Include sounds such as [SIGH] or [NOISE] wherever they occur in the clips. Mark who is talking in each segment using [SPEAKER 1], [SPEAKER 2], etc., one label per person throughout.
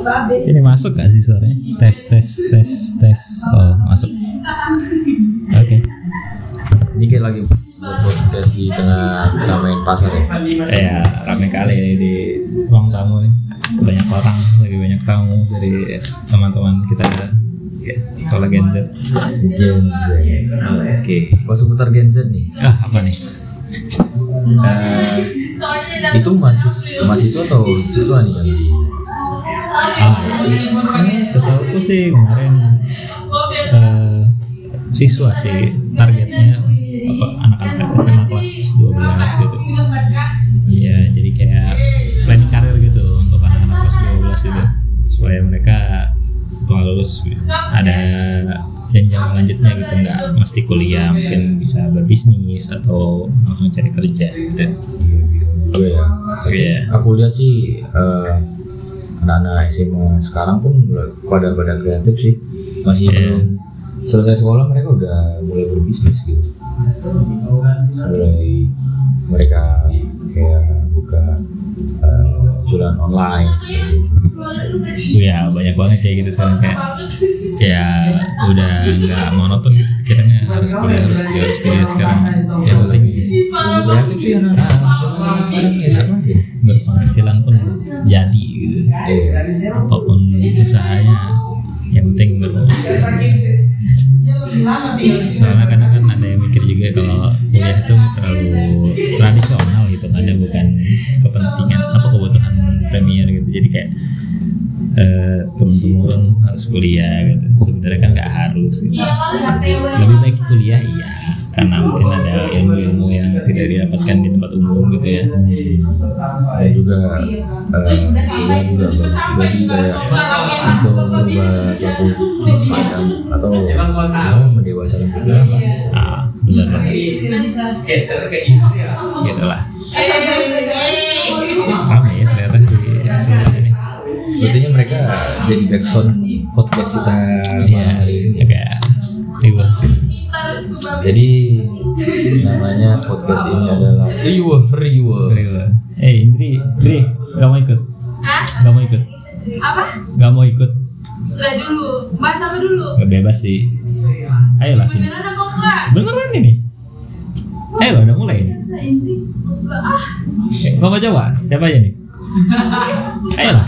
[SPEAKER 1] Ini masuk gak sih suaranya? Tes, tes, tes, tes. Oh, masuk. Oke.
[SPEAKER 2] Ini kayak lagi buat podcast di tengah ramai pasar ya.
[SPEAKER 1] Ya, rame kali ini di ruang tamu nih. Banyak orang, lebih banyak tamu dari teman-teman kita ya, sekolah Gen Z.
[SPEAKER 2] Gen Z.
[SPEAKER 1] Oke.
[SPEAKER 2] Kalau seputar Gen Z nih,
[SPEAKER 1] Ah, apa nih?
[SPEAKER 2] eh, itu mahasiswa, mahasiswa atau siswa nih? Bang?
[SPEAKER 1] Ah, setahu sih kemarin eh, siswa sih targetnya apa anak-anak SMA kelas 12 gitu. Iya, jadi kayak planning karir gitu untuk anak-anak kelas 12 itu supaya mereka setelah lulus gitu, ada jenjang lanjutnya gitu nggak mesti kuliah mungkin bisa berbisnis atau langsung cari kerja gitu.
[SPEAKER 2] Gue ya.
[SPEAKER 1] Iya.
[SPEAKER 2] Aku lihat sih eh, anak-anak SMA sekarang pun pada pada kreatif sih.
[SPEAKER 1] Iya.
[SPEAKER 2] Masih belum selesai sekolah mereka udah mulai berbisnis gitu. Mulai mereka kayak buka eh, jualan online.
[SPEAKER 1] ya banyak banget kayak gitu sekarang kayak ya udah nggak monoton gitu pikirannya harus kuliah harus kuliah harus kuliah sekarang yang penting Ah,
[SPEAKER 2] Lebih kreatif sih anak-anak. Anak-anak SMA gitu.
[SPEAKER 1] berpenghasilan pun jadi gitu.
[SPEAKER 2] Iya.
[SPEAKER 1] apapun usahanya yang penting berpenghasilan
[SPEAKER 2] Iya,
[SPEAKER 1] soalnya kadang kan ada yang mikir juga kalau kuliah itu terlalu tradisional gitu ada bukan kepentingan apa kebutuhan premier gitu jadi kayak eh turun-temurun harus kuliah gitu sebenarnya kan nggak harus gitu. lebih baik kuliah iya karena mungkin ada ilmu-ilmu yang tidak didapatkan di tempat umum gitu ya
[SPEAKER 2] dan juga eh, dia juga bagi kayak untuk merubah suatu pandang atau ya, mau mendewasakan pikiran lah
[SPEAKER 1] ah benar banget
[SPEAKER 2] Eh, ya.
[SPEAKER 1] gitu lah
[SPEAKER 3] eh.
[SPEAKER 1] ramai ya ternyata di sebelah ini
[SPEAKER 3] Iya
[SPEAKER 2] sepertinya mereka jadi backsound podcast kita
[SPEAKER 1] Iya,
[SPEAKER 2] malam Ya, hari ini
[SPEAKER 1] agak riuh.
[SPEAKER 2] jadi namanya podcast ini adalah Riwa Riwa
[SPEAKER 1] Riuh. Eh Indri, Indri, gak mau ikut?
[SPEAKER 4] Hah?
[SPEAKER 1] Gak mau ikut?
[SPEAKER 4] Apa?
[SPEAKER 1] Gak mau ikut?
[SPEAKER 4] Enggak dulu. Bahas apa dulu?
[SPEAKER 1] Gak bebas sih. Ayolah Eh, sini.
[SPEAKER 4] Beneran apa enggak?
[SPEAKER 1] Beneran ini. Ayo udah mulai ini.
[SPEAKER 4] Masa ini enggak ah.
[SPEAKER 1] Gak mau coba? Siapa aja nih? Ayolah,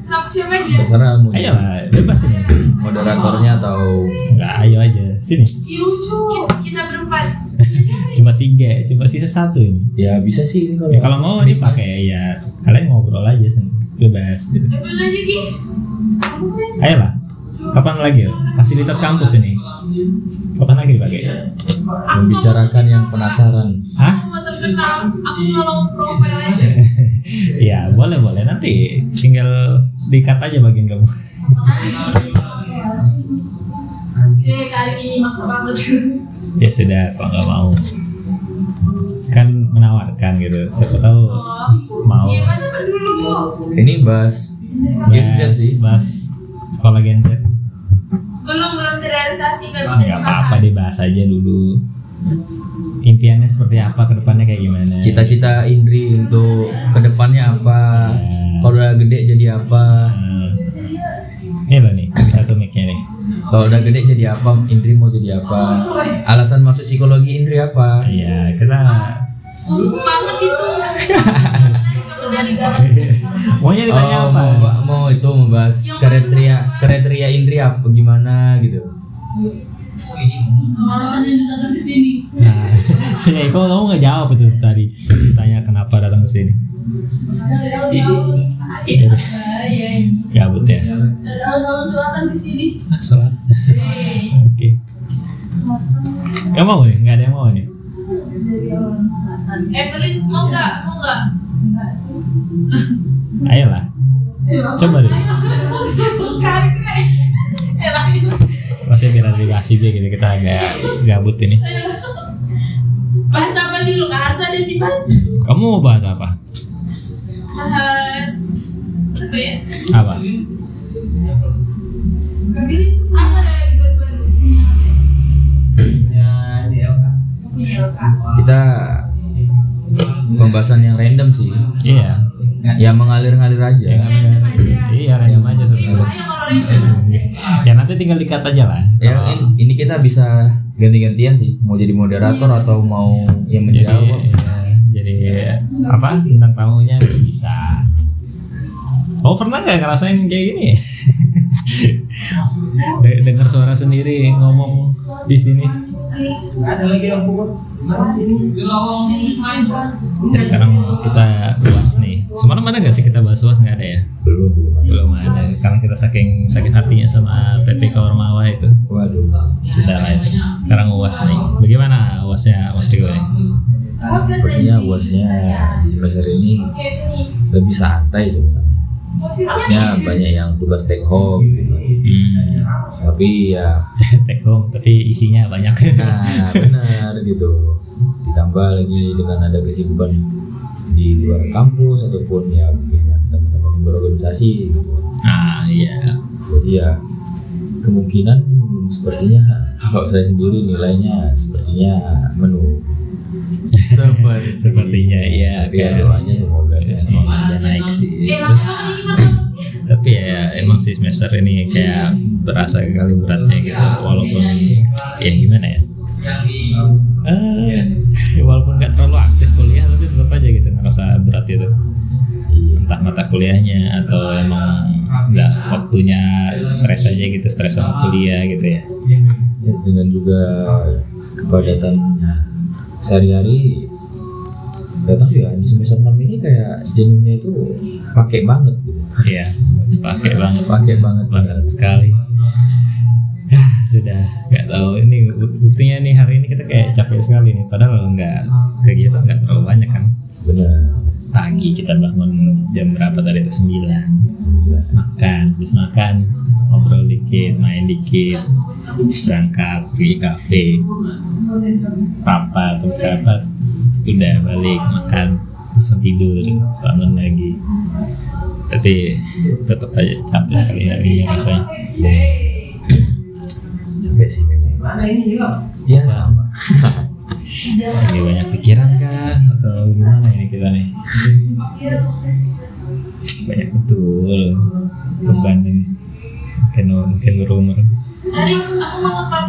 [SPEAKER 4] Sama siapa aja?
[SPEAKER 2] terserah mau
[SPEAKER 1] ayolah, bebas ini.
[SPEAKER 2] moderatornya atau
[SPEAKER 1] Enggak, ayo aja. Sini.
[SPEAKER 4] Ih, lucu. Kita, kita berempat.
[SPEAKER 1] Cuma tiga, cuma sisa satu ini.
[SPEAKER 2] ya bisa sih ini kalau
[SPEAKER 1] Ya, kalau mau ini pakai ya kalian ngobrol aja sendiri. Bebas gitu.
[SPEAKER 4] Ambil aja Ki. Kamu kan
[SPEAKER 1] Ayolah. Kapan lagi? Fasilitas kampus ini. Kapan lagi dipakai?
[SPEAKER 2] membicarakan yang penasaran
[SPEAKER 1] Hah?
[SPEAKER 4] mau terkesan. Aku nolong profil aja.
[SPEAKER 1] ya boleh boleh nanti tinggal dikat aja bagian kamu [LAUGHS]
[SPEAKER 4] Eh, kali ini maksa banget.
[SPEAKER 1] ya sudah kalau nggak mau kan menawarkan gitu siapa tahu mau
[SPEAKER 4] Iya, masa apa dulu?
[SPEAKER 2] ini bahas Gen Z
[SPEAKER 1] bahas,
[SPEAKER 2] sih
[SPEAKER 1] bahas sekolah Gen Z
[SPEAKER 4] Belum belum terrealisasi nggak bisa
[SPEAKER 1] Ah, nggak apa-apa
[SPEAKER 4] dibahas.
[SPEAKER 1] dibahas aja dulu impiannya seperti apa kedepannya kayak gimana
[SPEAKER 2] cita-cita Indri untuk kedepannya apa
[SPEAKER 1] Iya.
[SPEAKER 2] kalau udah gede jadi apa
[SPEAKER 1] Hmm. ini loh nih di satu mic-nya nih
[SPEAKER 2] kalau udah gede jadi apa Indri mau jadi apa alasan masuk psikologi Indri apa
[SPEAKER 1] iya kita
[SPEAKER 4] Buruk banget itu. Menarik, menarik.
[SPEAKER 1] maunya ditanya
[SPEAKER 2] Oh,
[SPEAKER 1] apa
[SPEAKER 2] mau, mau itu membahas kriteria kriteria Indri apa gimana gitu
[SPEAKER 4] Alasannya datang ke sini.
[SPEAKER 1] Nah, [LAUGHS] ya kok kamu nggak jawab itu tadi ditanya kenapa datang ke sini?
[SPEAKER 4] Iya.
[SPEAKER 1] Gabut ya.
[SPEAKER 4] Tahun-tahun Iya, selatan di sini.
[SPEAKER 1] Nah, Salah. Oke. Gak mau nih, nggak ada yang mau nih.
[SPEAKER 4] Evelyn Eh, mau nggak? Mau nggak?
[SPEAKER 1] Ayolah, coba deh.
[SPEAKER 4] Eh,
[SPEAKER 1] Masih biar dikasih dia gitu kita agak gabut ini.
[SPEAKER 4] Bahas apa dulu? Kan Kak Arsa dan dibahas.
[SPEAKER 1] Kamu mau bahas apa?
[SPEAKER 4] Bahas apa ya? Apa
[SPEAKER 1] Apa?
[SPEAKER 4] dari baru-baru?
[SPEAKER 2] Ya, Ah, kita pembahasan yang random sih
[SPEAKER 1] Iya.
[SPEAKER 2] ya mengalir-ngalir aja
[SPEAKER 1] Yang
[SPEAKER 4] Random aja.
[SPEAKER 1] iya random aja sebenarnya
[SPEAKER 4] Bahaya kalau random.
[SPEAKER 1] ya nanti tinggal dikat aja lah
[SPEAKER 2] Ya, in- ini kita bisa ganti-gantian sih. Mau jadi moderator atau mau yang
[SPEAKER 1] jadi
[SPEAKER 2] menjawab.
[SPEAKER 1] ya, jadi apa tentang tamunya juga bisa Oh pernah nggak ngerasain kayak gini? [LAUGHS] De- Dengar suara sendiri ngomong di sini. Ya, sekarang kita luas nih. Semalam ada nggak sih kita bahas luas nggak ada ya?
[SPEAKER 2] Belum, belum. ada.
[SPEAKER 1] Belum ada. Karena kita saking sakit hatinya sama PPK Ormawa itu.
[SPEAKER 2] Waduh.
[SPEAKER 1] Sudah lah itu. Sekarang uas nih. Bagaimana uasnya Mas ya? Rigo nih?
[SPEAKER 2] Sepertinya bosnya di semester ini lebih santai sebenarnya. Ya banyak yang tugas take home gitu.
[SPEAKER 1] Hmm. [LAUGHS]
[SPEAKER 2] Tapi ya
[SPEAKER 1] Take home, tapi isinya banyak. [LAUGHS]
[SPEAKER 2] Nah, benar gitu. Ditambah lagi dengan ada kesibukan di luar kampus ataupun ya mungkin ada teman-teman yang berorganisasi. gitu.
[SPEAKER 1] Ah iya.
[SPEAKER 2] Jadi ya kemungkinan sepertinya kalau saya sendiri nilainya sepertinya menu. [LAUGHS]
[SPEAKER 1] Sepertinya iya.
[SPEAKER 2] Tapi ya doanya semoga ya.
[SPEAKER 1] Semoga aja naik sih.
[SPEAKER 4] Eh,
[SPEAKER 1] Itu.
[SPEAKER 4] makanya kalau gimana?
[SPEAKER 1] Tapi ya emang sih semester ini kayak berasa kali beratnya gitu. Walaupun ya gimana ya. Eh, walaupun nggak terlalu aktif kuliah tapi tetap aja gitu ngerasa berat gitu. Entah mata kuliahnya atau emang nggak waktunya stres aja gitu stres sama kuliah gitu ya.
[SPEAKER 2] Ya, dengan juga kepadatan sehari-hari Gak tahu ya di semester 6 ini kayak jenuhnya itu pakai banget gitu.
[SPEAKER 1] Iya, pakai banget.
[SPEAKER 2] Pakai banget banget.
[SPEAKER 1] banget sekali Yah, sudah nggak tahu ini bu- buktinya nih hari ini kita kayak capek sekali nih padahal nggak kegiatan nggak terlalu banyak kan
[SPEAKER 2] Benar.
[SPEAKER 1] pagi kita bangun jam berapa tadi itu sembilan
[SPEAKER 2] Alhamdulillah.
[SPEAKER 1] makan habis makan ngobrol dikit main dikit terus berangkat pergi kafe rapat terus rapat udah balik makan langsung tidur bangun lagi tapi tetap aja capek sekali
[SPEAKER 2] ya,
[SPEAKER 1] hari ini rasanya
[SPEAKER 2] Capek sih memang. Mana ini juga? Ya sama.
[SPEAKER 1] lagi banyak pikiran kah atau gimana ini kita nih banyak betul beban ini mungkin mungkin berumur
[SPEAKER 4] Hari aku mau ngepap.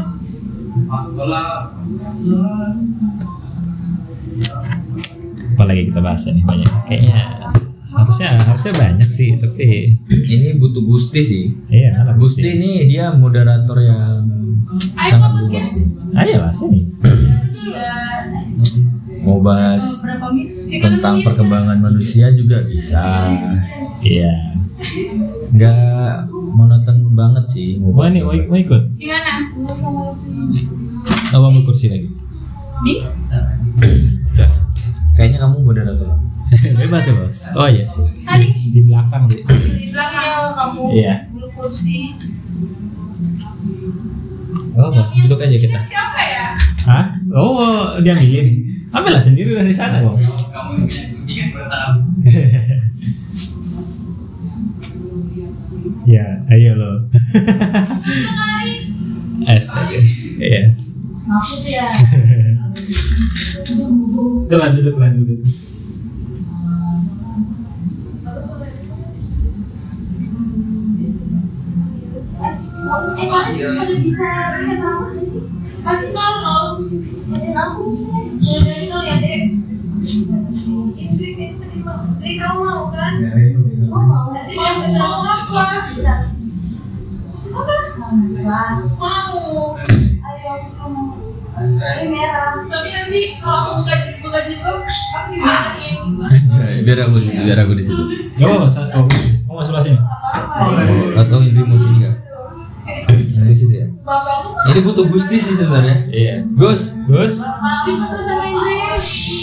[SPEAKER 1] apalagi kita bahas nih banyak kayaknya harusnya harusnya banyak sih tapi
[SPEAKER 2] Ini butuh Gusti sih.
[SPEAKER 1] iya lah
[SPEAKER 2] Gusti ini dia moderator yang
[SPEAKER 4] Ayo
[SPEAKER 2] sangat luas.
[SPEAKER 4] podcast.
[SPEAKER 1] ayo lah sini
[SPEAKER 2] Mau bahas
[SPEAKER 4] Berapa menit? Tiga
[SPEAKER 2] tentang
[SPEAKER 4] menit.
[SPEAKER 2] perkembangan ah. manusia juga bisa.
[SPEAKER 1] iya
[SPEAKER 2] Nggak monoton banget sih.
[SPEAKER 1] mau
[SPEAKER 2] mau bahas
[SPEAKER 1] nih mau,
[SPEAKER 2] apa.
[SPEAKER 1] mau ikut
[SPEAKER 4] Gimana?
[SPEAKER 1] mau ambil kursi lagi
[SPEAKER 4] Di?
[SPEAKER 2] Iya. Kayaknya kamu moderator.
[SPEAKER 1] [LAUGHS] bebas ya bos oh iya
[SPEAKER 4] Hari
[SPEAKER 1] di belakang sih
[SPEAKER 4] di belakang kamu
[SPEAKER 1] Iya.
[SPEAKER 4] bulu kursi.
[SPEAKER 2] Oh, duduk aja kita.
[SPEAKER 4] Siapa ya?
[SPEAKER 1] Hah? Oh, dia ambilin. Ambillah sendiri dari sana, Bang. ya, ayo lo. Astaga. Iya.
[SPEAKER 5] Maksud ya,
[SPEAKER 1] Udah lanjut, udah lanjut.
[SPEAKER 5] eh kalian pada bisa rencana aku nggak sih?
[SPEAKER 4] Masih selalu nol.
[SPEAKER 5] Rencana aku
[SPEAKER 4] Ya, Dari nol ya dek. Indri, Indri mau- Indri, kamu mau kan?
[SPEAKER 5] mau Oh, mau nggak?
[SPEAKER 4] Nanti dia mau apa?
[SPEAKER 5] Rencana
[SPEAKER 4] Coba.
[SPEAKER 5] Wah,
[SPEAKER 4] Mau.
[SPEAKER 5] ayo kamu ini merah.
[SPEAKER 4] Tapi nanti kalau aku buka buka gitu, aku dimarahin.
[SPEAKER 2] Biar aku biar aku di situ.
[SPEAKER 1] Gak apa-apa, San. Oh, kamu mau sebelah sini.
[SPEAKER 2] Atau ini mau sini nggak? Ini situ ya.
[SPEAKER 4] Bapak aku
[SPEAKER 2] Ini butuh Gusti sih sebenarnya.
[SPEAKER 1] Iya.
[SPEAKER 2] Gus,
[SPEAKER 1] Gus,
[SPEAKER 5] Coba tuh sama Indri.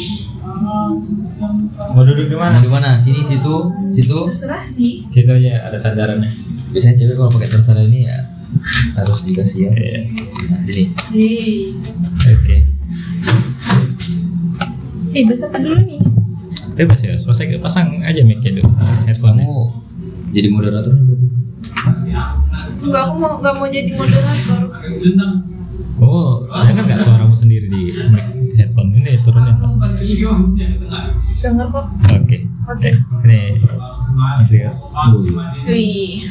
[SPEAKER 1] mau duduk di
[SPEAKER 2] Nah,
[SPEAKER 1] mana?
[SPEAKER 2] di mana? Sini, situ, situ.
[SPEAKER 4] terserah sih.
[SPEAKER 1] Situ aja ada sandarannya.
[SPEAKER 2] Biasanya cewek kalau pakai terserah ini ya harus dikasih ya.
[SPEAKER 1] Iya.
[SPEAKER 2] Nah, ini.
[SPEAKER 4] Hei.
[SPEAKER 1] Oke.
[SPEAKER 4] Eh, bahasa apa dulu nih?
[SPEAKER 1] Bebas ya, selesai pasang aja mic-nya dulu. Headphone.
[SPEAKER 2] Kamu jadi moderator nih berarti.
[SPEAKER 4] Enggak, aku mau nggak mau jadi moderator.
[SPEAKER 1] Oh, dengar nggak suaramu sendiri di mic headphone ini turunin. Pak.
[SPEAKER 4] Dengar kok.
[SPEAKER 1] Oke. Oke. Eh, Ini masih ya
[SPEAKER 3] Wih.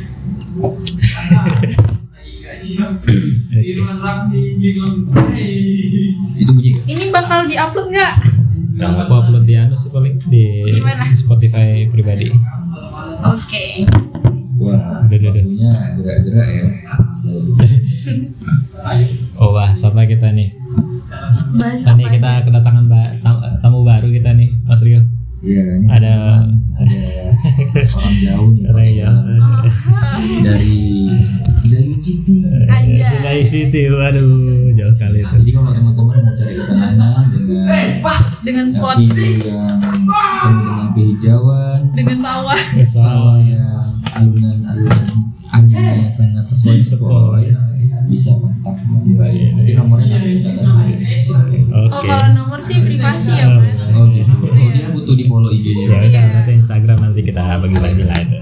[SPEAKER 2] Itu bunyi kan?
[SPEAKER 3] Ini bakal diupload nggak?
[SPEAKER 1] Nah, aku upload di anu sih paling di
[SPEAKER 3] Di mana?
[SPEAKER 1] Spotify pribadi.
[SPEAKER 3] Oke.
[SPEAKER 2] Wah,
[SPEAKER 1] Udah, udah, udah.
[SPEAKER 2] bunyinya gerak-gerak ya.
[SPEAKER 1] Oh wah, sama kita nih.
[SPEAKER 3] Bahas
[SPEAKER 1] Tadi
[SPEAKER 3] apa?
[SPEAKER 1] kita kedatangan ba- tam- tamu baru kita nih, Mas Rio.
[SPEAKER 2] Iya, ini
[SPEAKER 1] Ada ya.
[SPEAKER 2] ada orang jauh nih.
[SPEAKER 1] Orang jauh.
[SPEAKER 2] Dari Sedayu City.
[SPEAKER 3] Anjay.
[SPEAKER 1] Sedai City, waduh, jauh sekali itu.
[SPEAKER 2] Jadi kalau teman-teman mau cari ketenangan dengan
[SPEAKER 3] Dengan spot,
[SPEAKER 2] tapi yang penuh dengan kehijauan,
[SPEAKER 3] dengan sawah.
[SPEAKER 1] Kesal.
[SPEAKER 2] sawah yang alunan-alunan anginnya sangat sesuai sekolah ya, bisa kontak
[SPEAKER 1] Iya,
[SPEAKER 2] ya. Nanti
[SPEAKER 1] iya.
[SPEAKER 2] nomornya nanti catat.
[SPEAKER 3] Oh,
[SPEAKER 1] Oke.
[SPEAKER 3] kalau nomor sih privasi ya, Mas.
[SPEAKER 2] Oh
[SPEAKER 1] Iya.
[SPEAKER 2] gitu. Oh, dia butuh di follow IG-nya.
[SPEAKER 1] Ya udah,
[SPEAKER 3] Iya.
[SPEAKER 1] nanti Instagram nanti kita bagi-bagi lah itu.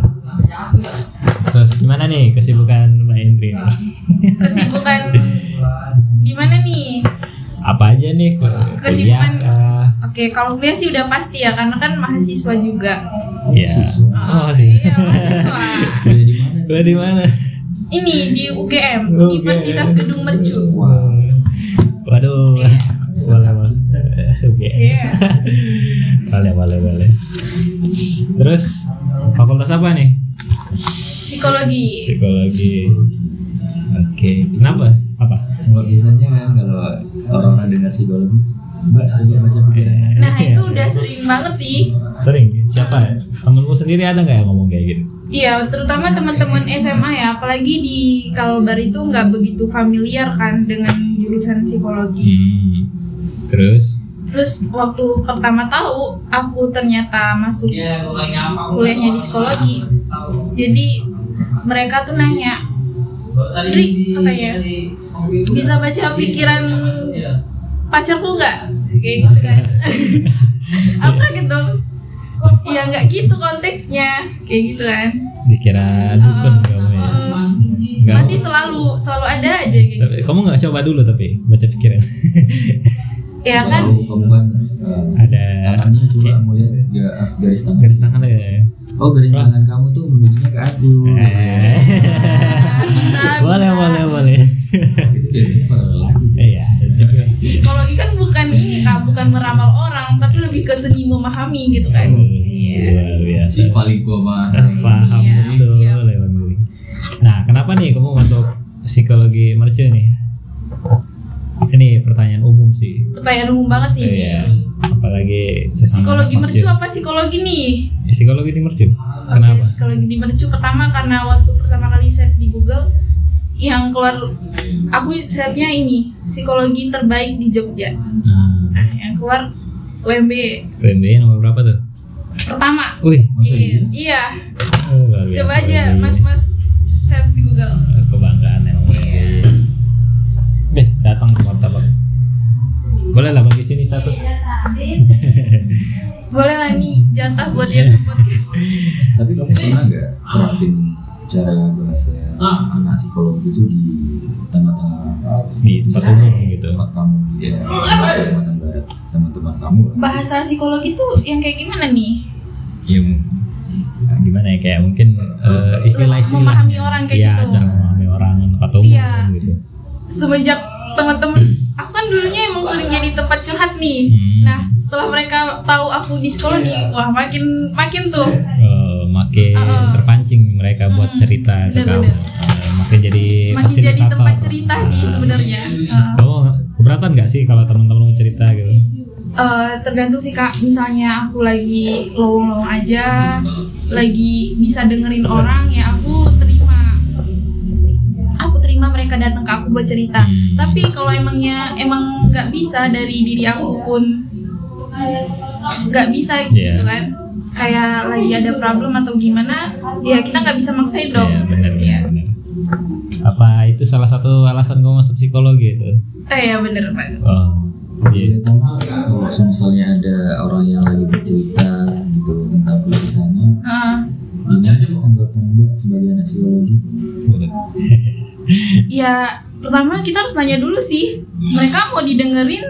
[SPEAKER 1] Terus gimana nih kesibukan Mbak Indri? nih?
[SPEAKER 3] Kesibukan gimana nih?
[SPEAKER 1] Apa aja nih ku- kuliah?
[SPEAKER 3] Kesibukan.
[SPEAKER 1] kah?
[SPEAKER 3] Oke, kalau kuliah sih udah pasti ya, karena kan mahasiswa juga.
[SPEAKER 1] Iya.
[SPEAKER 2] Siswa.
[SPEAKER 1] Oh sih.
[SPEAKER 3] Iya, mahasiswa.
[SPEAKER 2] Kuliah di mana?
[SPEAKER 1] Kuliah di mana?
[SPEAKER 3] Ini di UGM,
[SPEAKER 1] UGM.
[SPEAKER 3] Universitas Gedung Mercu.
[SPEAKER 1] Waduh. Boleh, boleh. Oke.
[SPEAKER 3] Iya.
[SPEAKER 1] Boleh, boleh, boleh. Terus fakultas apa nih?
[SPEAKER 3] Psikologi.
[SPEAKER 1] Psikologi. Oke, kenapa? Apa?
[SPEAKER 2] Kalau biasanya kan kalau orang-orang dengar psikolog, Mbak coba baca
[SPEAKER 1] Iya,
[SPEAKER 2] pikiran.
[SPEAKER 3] Nah, itu udah sering banget sih.
[SPEAKER 1] sering. Siapa? Temenmu sendiri ada nggak yang ngomong kayak gitu?
[SPEAKER 3] Iya, terutama teman-teman SMA ya, apalagi di Kalbar itu nggak begitu familiar kan dengan jurusan psikologi.
[SPEAKER 1] Hmm. Terus?
[SPEAKER 3] Terus waktu pertama tahu aku ternyata masuk kuliahnya di psikologi. Jadi mereka tuh nanya, Dri katanya ya? bisa baca pikiran pacarku nggak? Kayak gitu [LAUGHS] kan? Aku kaget dong. Ya nggak gitu konteksnya, kayak gitu kan.
[SPEAKER 1] Dikira dukun kamu ya?
[SPEAKER 3] Eh,
[SPEAKER 1] Nggak.
[SPEAKER 3] masih selalu selalu ada aja kayak gitu.
[SPEAKER 1] Tapi Kamu nggak coba dulu tapi baca pikiran?
[SPEAKER 3] Ya
[SPEAKER 1] Iya,
[SPEAKER 3] kan?
[SPEAKER 2] Kalau kamu kan eh,
[SPEAKER 1] ada Iya.
[SPEAKER 2] tangannya coba mau lihat ga- ah, garis tangan.
[SPEAKER 1] garis tangan ya?
[SPEAKER 2] Oh garis tangan kamu tuh menujunya ke aku.
[SPEAKER 1] Eh.
[SPEAKER 3] Bisa,
[SPEAKER 1] [LAUGHS] boleh,
[SPEAKER 3] bisa.
[SPEAKER 1] boleh, boleh.
[SPEAKER 2] Itu biasanya para lelaki.
[SPEAKER 1] Iya.
[SPEAKER 3] Psikologi kan bukan ini kak, bukan meramal orang, tapi lebih ke seni memahami gitu kan.
[SPEAKER 1] Hmm.
[SPEAKER 3] Iya.
[SPEAKER 1] Luar biasa. Nah,
[SPEAKER 2] Si paling gua
[SPEAKER 1] [LAUGHS]
[SPEAKER 2] mah.
[SPEAKER 1] Paham
[SPEAKER 3] Iya,
[SPEAKER 1] betul
[SPEAKER 3] siap.
[SPEAKER 1] lewat diri. Nah, kenapa nih kamu masuk psikologi mercu nih? Ini pertanyaan umum sih.
[SPEAKER 3] Pertanyaan umum banget sih ini.
[SPEAKER 1] Iya. Apalagi sesama
[SPEAKER 3] Psikologi
[SPEAKER 1] anak
[SPEAKER 3] mercu apa psikologi nih?
[SPEAKER 1] Psikologi di mercu.
[SPEAKER 3] Oke,
[SPEAKER 1] Kenapa?
[SPEAKER 3] psikologi di mercu pertama karena waktu pertama kali search di Google yang keluar aku searchnya ini psikologi terbaik di Jogja.
[SPEAKER 1] Nah,
[SPEAKER 3] Nah, yang keluar UMB
[SPEAKER 1] PMB nomor berapa tuh?
[SPEAKER 3] pertama.
[SPEAKER 1] Wih,
[SPEAKER 3] Yes, iya.
[SPEAKER 1] oh, luar biasa
[SPEAKER 3] Coba aja
[SPEAKER 1] lagi.
[SPEAKER 3] mas-mas search di
[SPEAKER 1] [LAUGHS]
[SPEAKER 3] Google.
[SPEAKER 1] Kebanggaan emang
[SPEAKER 3] Iya.
[SPEAKER 1] UMB. Deh, datang ke martabak. Boleh lah bagi sini satu.
[SPEAKER 3] Boleh lah nih jatah buat
[SPEAKER 1] [LAUGHS]
[SPEAKER 3] yang ke podcast.
[SPEAKER 2] Tapi kamu pernah nggak terapin cara bahasa kena psikolog itu di tengah-tengah
[SPEAKER 1] di tempat umum gitu.
[SPEAKER 2] tempat kamu di daerah Kalimantan Barat teman-teman kamu lah.
[SPEAKER 3] Bahasa psikologi tuh yang kayak gimana nih? Iya,
[SPEAKER 1] Ya, nah, gimana ya kayak mungkin eh, istilah-istilah
[SPEAKER 3] Memahami orang kayak
[SPEAKER 1] ya,
[SPEAKER 3] gitu.
[SPEAKER 1] cara memahami orang tempat umum
[SPEAKER 3] Iya. [LAUGHS]
[SPEAKER 1] gitu.
[SPEAKER 3] Semenjak teman-teman aku kan dulunya emang sering jadi tempat curhat nih.
[SPEAKER 1] Hmm. Iya.
[SPEAKER 3] Nah, setelah mereka tahu aku di psikologi, wah makin makin tuh.
[SPEAKER 1] Eh, makin
[SPEAKER 3] Uh-uh.
[SPEAKER 1] terpancing mereka buat
[SPEAKER 3] Mm-mm,
[SPEAKER 1] cerita ke kamu.
[SPEAKER 3] benar-benar.
[SPEAKER 1] Eh, makin jadi
[SPEAKER 3] Makin jadi
[SPEAKER 1] fasilitator.
[SPEAKER 3] tempat cerita sih sebenarnya. Eh,
[SPEAKER 1] Kamu keberatan nggak sih kalau teman-teman mau cerita gitu?
[SPEAKER 3] eh, tergantung sih Kak, misalnya aku lagi lowong-lowong aja, lagi bisa dengerin orang ya aku terima. Aku terima mereka datang ke aku buat cerita.
[SPEAKER 1] Hmm.
[SPEAKER 3] Tapi kalau emangnya emang nggak bisa dari diri aku pun nggak bisa
[SPEAKER 1] Iya.
[SPEAKER 3] gitu kan kayak lagi ada problem atau gimana ya kita nggak bisa maksain dong
[SPEAKER 1] Iya, benar
[SPEAKER 3] Iya.
[SPEAKER 1] benar. Apa itu salah satu alasan kamu masuk psikologi itu?
[SPEAKER 3] eh ya bener Pak.
[SPEAKER 1] Oh, iya.
[SPEAKER 2] Kalau misalnya ada orang yang lagi bercerita gitu tentang tulisannya,
[SPEAKER 3] Ah,
[SPEAKER 2] gimana sih tanggapan Mbak sebagai anak psikologi?
[SPEAKER 1] Boleh.
[SPEAKER 3] ya pertama kita harus nanya dulu sih mereka mau didengerin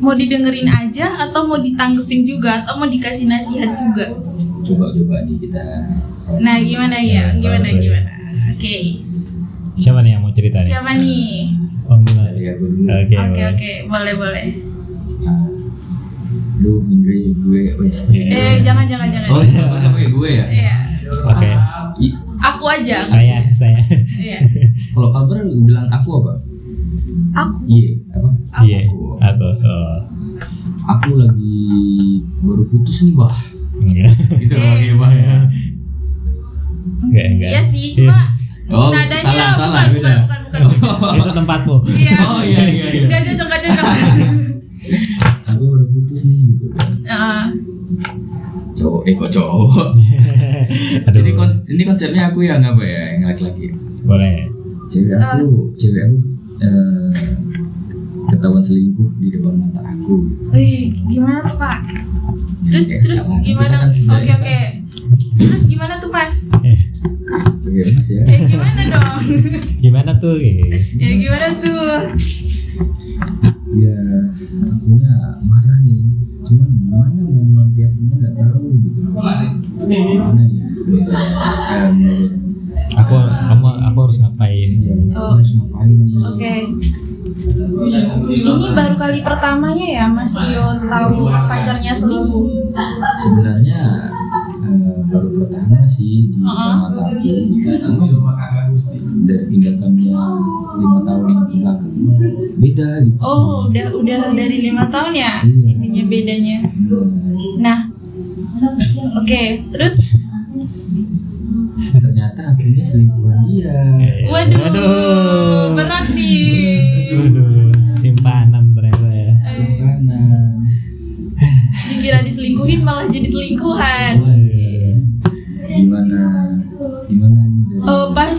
[SPEAKER 3] mau didengerin aja atau mau ditanggepin juga atau mau dikasih nasihat juga
[SPEAKER 2] coba-coba nih kita
[SPEAKER 3] Nah, gimana ya?
[SPEAKER 1] Ya,
[SPEAKER 3] Gimana
[SPEAKER 1] baik.
[SPEAKER 3] gimana? Oke.
[SPEAKER 1] Siapa nih yang mau cerita nih?
[SPEAKER 3] Siapa nih?
[SPEAKER 1] Oh, Mila.
[SPEAKER 2] dari aku dulu.
[SPEAKER 1] Oke,
[SPEAKER 3] Oke,
[SPEAKER 1] boleh.
[SPEAKER 3] oke. Boleh, boleh.
[SPEAKER 2] Nah, Lu Indri gue wes.
[SPEAKER 1] Iya.
[SPEAKER 3] Eh, jangan jangan jangan.
[SPEAKER 2] Oh, apa apa ya gue ya?
[SPEAKER 3] Iya.
[SPEAKER 1] Oke.
[SPEAKER 3] Ah.
[SPEAKER 2] I-
[SPEAKER 3] Aku aja. aku.
[SPEAKER 1] Saya,
[SPEAKER 3] [LAUGHS]
[SPEAKER 1] saya.
[SPEAKER 3] Iya.
[SPEAKER 2] Kalau kabar bilang aku apa?
[SPEAKER 3] Aku.
[SPEAKER 2] Iya, apa?
[SPEAKER 3] Aku.
[SPEAKER 1] Iya. Aku. oh.
[SPEAKER 2] Aku lagi baru putus nih, Bah.
[SPEAKER 1] Enggak.
[SPEAKER 2] Gitu oke, Bah ya.
[SPEAKER 1] Enggak, enggak.
[SPEAKER 3] Iya sih, cuma
[SPEAKER 2] Oh,
[SPEAKER 3] nadanya
[SPEAKER 2] salah,
[SPEAKER 3] bukan,
[SPEAKER 2] salah,
[SPEAKER 3] bukan,
[SPEAKER 2] beda.
[SPEAKER 3] bukan, bukan, bukan.
[SPEAKER 1] Itu tempatmu. [LAUGHS]
[SPEAKER 3] Iya.
[SPEAKER 2] Oh iya iya iya.
[SPEAKER 3] Nggak cocok, nggak
[SPEAKER 2] [LAUGHS]
[SPEAKER 3] cocok.
[SPEAKER 2] [LAUGHS] Aku baru putus nih gitu.
[SPEAKER 3] Heeh.
[SPEAKER 2] Cowok, eh kok cowok.
[SPEAKER 1] Aduh.
[SPEAKER 2] Jadi kon ini konsepnya aku yang apa ya, yang laki-laki.
[SPEAKER 1] Boleh.
[SPEAKER 2] Cewek aku, cewek aku eh, ketahuan selingkuh di depan mata aku.
[SPEAKER 3] Wih, gimana tuh Pak? Terus
[SPEAKER 2] Ya,
[SPEAKER 3] terus
[SPEAKER 2] nggak apa-apa, kita
[SPEAKER 3] gimana?
[SPEAKER 2] kan
[SPEAKER 3] Oke
[SPEAKER 2] sudah,
[SPEAKER 3] oke.
[SPEAKER 2] ya
[SPEAKER 3] Terus gimana tuh Mas?
[SPEAKER 2] Oke, Mas ya.
[SPEAKER 3] Eh gimana dong? [LAUGHS]
[SPEAKER 1] Gimana tuh? Oke.
[SPEAKER 3] ya gimana tuh?
[SPEAKER 2] Ya, akunya marah nih. Cuman gimana mau ngelampiasinnya nggak tahu gitu. Gimana nih? Menurut, eh, menurut
[SPEAKER 1] Aku kamu aku harus ngapain?
[SPEAKER 2] ya,
[SPEAKER 3] Oh.
[SPEAKER 2] harus ngapain nih?
[SPEAKER 3] Oke. Ini baru kali pertamanya ya Mas Rio tahu pacarnya selingkuh.
[SPEAKER 2] sebenarnya eh, baru pertama sih di
[SPEAKER 3] Heeh.
[SPEAKER 2] mata aku cuma dari tindakannya lima tahun ke belakang beda gitu
[SPEAKER 3] Oh, udah udah dari lima tahun ya
[SPEAKER 2] Iya.
[SPEAKER 3] ininya bedanya. Nah, oke, terus
[SPEAKER 2] Nah, ternyata akhirnya selingkuhan dia
[SPEAKER 1] Eh,
[SPEAKER 3] waduh, berat nih.
[SPEAKER 1] Waduh. Simpanan ternyata ya.
[SPEAKER 3] Eh,
[SPEAKER 2] karena
[SPEAKER 3] dikira diselingkuhin malah jadi selingkuhan.
[SPEAKER 1] Waduh.
[SPEAKER 2] gimana gimana nih dari
[SPEAKER 3] Eh, pas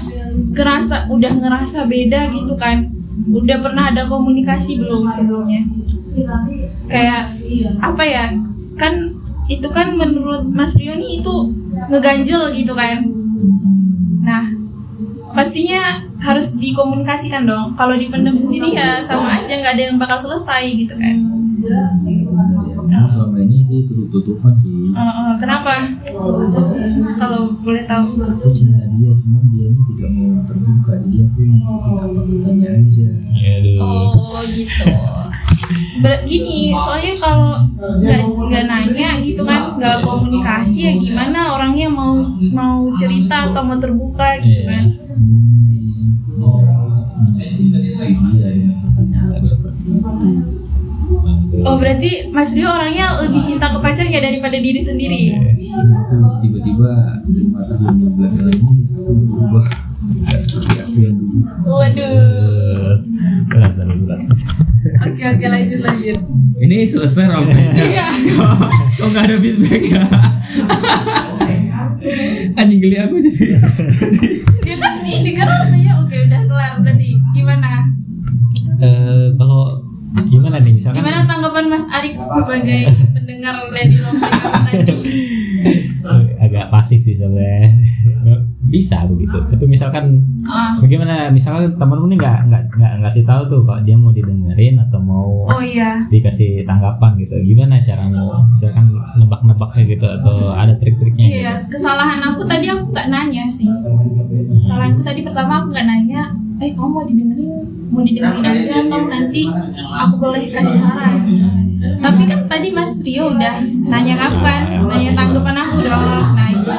[SPEAKER 3] ngerasa udah ngerasa beda gitu kan udah pernah ada komunikasi belum sebelumnya kayak apa ya kan itu kan menurut Mas Rio nih itu ngeganjel gitu kan nah pastinya harus dikomunikasikan dong kalau dipendam sendiri ya sama aja nggak ada yang bakal selesai gitu kan
[SPEAKER 2] benar ya Karena selama ini sih tutup tutupan
[SPEAKER 3] Eh,
[SPEAKER 2] sih
[SPEAKER 3] eh, kenapa kalau boleh tahu
[SPEAKER 2] aku cinta dia cuman dia ini tidak mau terbuka jadi aku ngikutin apa katanya aja
[SPEAKER 1] Ya, aduh.
[SPEAKER 3] Oh gitu. Ber- Gini, soalnya kalau nggak nggak nanya gitu kan, nggak komunikasi ya gimana orangnya mau mau cerita atau mau terbuka gitu
[SPEAKER 1] Iya.
[SPEAKER 3] kan?
[SPEAKER 2] Iya, dengan pertanyaan seperti itu.
[SPEAKER 3] Oh berarti Mas Rio orangnya lebih cinta ke pacarnya daripada diri sendiri.
[SPEAKER 2] Iya, aku tiba-tiba lima tahun belakangan ini aku berubah nggak seperti aku yang dulu.
[SPEAKER 3] Waduh.
[SPEAKER 1] Eh, Berat, berat, berat.
[SPEAKER 3] Oke oke lanjut lanjut.
[SPEAKER 2] Ini selesai
[SPEAKER 1] [LAUGHS]
[SPEAKER 2] rompetnya.
[SPEAKER 3] Iya. [LAUGHS]
[SPEAKER 2] [LAUGHS] Kok nggak ada feedback ya? Anjing geli aku jadi.
[SPEAKER 3] Ya kan nih dengar ya oke udah kelar berarti gimana?
[SPEAKER 1] [LAUGHS] Eh, kalau gimana nih misalkan
[SPEAKER 3] Gimana tanggapan Mas Arik sebagai pendengar Lady Rompi tadi?
[SPEAKER 1] Eh, agak pasif sih sebenarnya Eh, bisa begitu tapi misalkan
[SPEAKER 3] Ah.
[SPEAKER 1] bagaimana misalkan temanmu nih nggak nggak nggak ngasih tahu tuh kalau dia mau didengerin atau mau
[SPEAKER 3] Oh iya.
[SPEAKER 1] dikasih tanggapan gitu gimana caramu misalkan nebak-nebaknya gitu atau ada trik-triknya
[SPEAKER 3] Iya, kesalahan aku tadi aku nggak nanya sih.
[SPEAKER 1] gitu?
[SPEAKER 3] Kesalahanku tadi pertama aku nggak nanya. Eh, kamu mau didengerin? Mau didengerin aja atau nanti aku boleh kasih saran?
[SPEAKER 1] Hmm.
[SPEAKER 3] Tapi kan tadi Mas Trio udah nanya ke aku kan, nanya tanggapan aku dong. Nah itu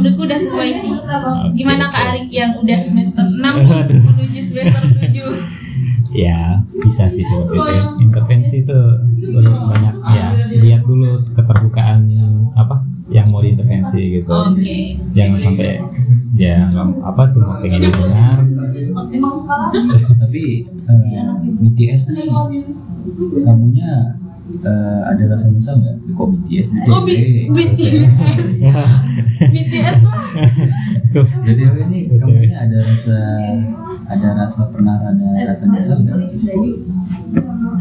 [SPEAKER 3] menurutku udah sesuai sih. Gimana Kak Arik yang udah semester 6 [LAUGHS] menuju semester 7
[SPEAKER 1] ya bisa sih seperti itu intervensi itu perlu banyak ya lihat dulu keterbukaan apa yang mau diintervensi gitu
[SPEAKER 3] Oke.
[SPEAKER 1] jangan sampai ya nggak- apa cuma pengen
[SPEAKER 3] [LAUGHS]
[SPEAKER 1] didengar
[SPEAKER 2] Tapi eh, BTS nih, kamunya eh, ada rasa nyesel nggak? Kok BTS BTS?
[SPEAKER 3] Oh, B- BTS. BTS lah.
[SPEAKER 2] BTW ini kamunya ada rasa ada rasa pernah ada rasa nyesel nggak?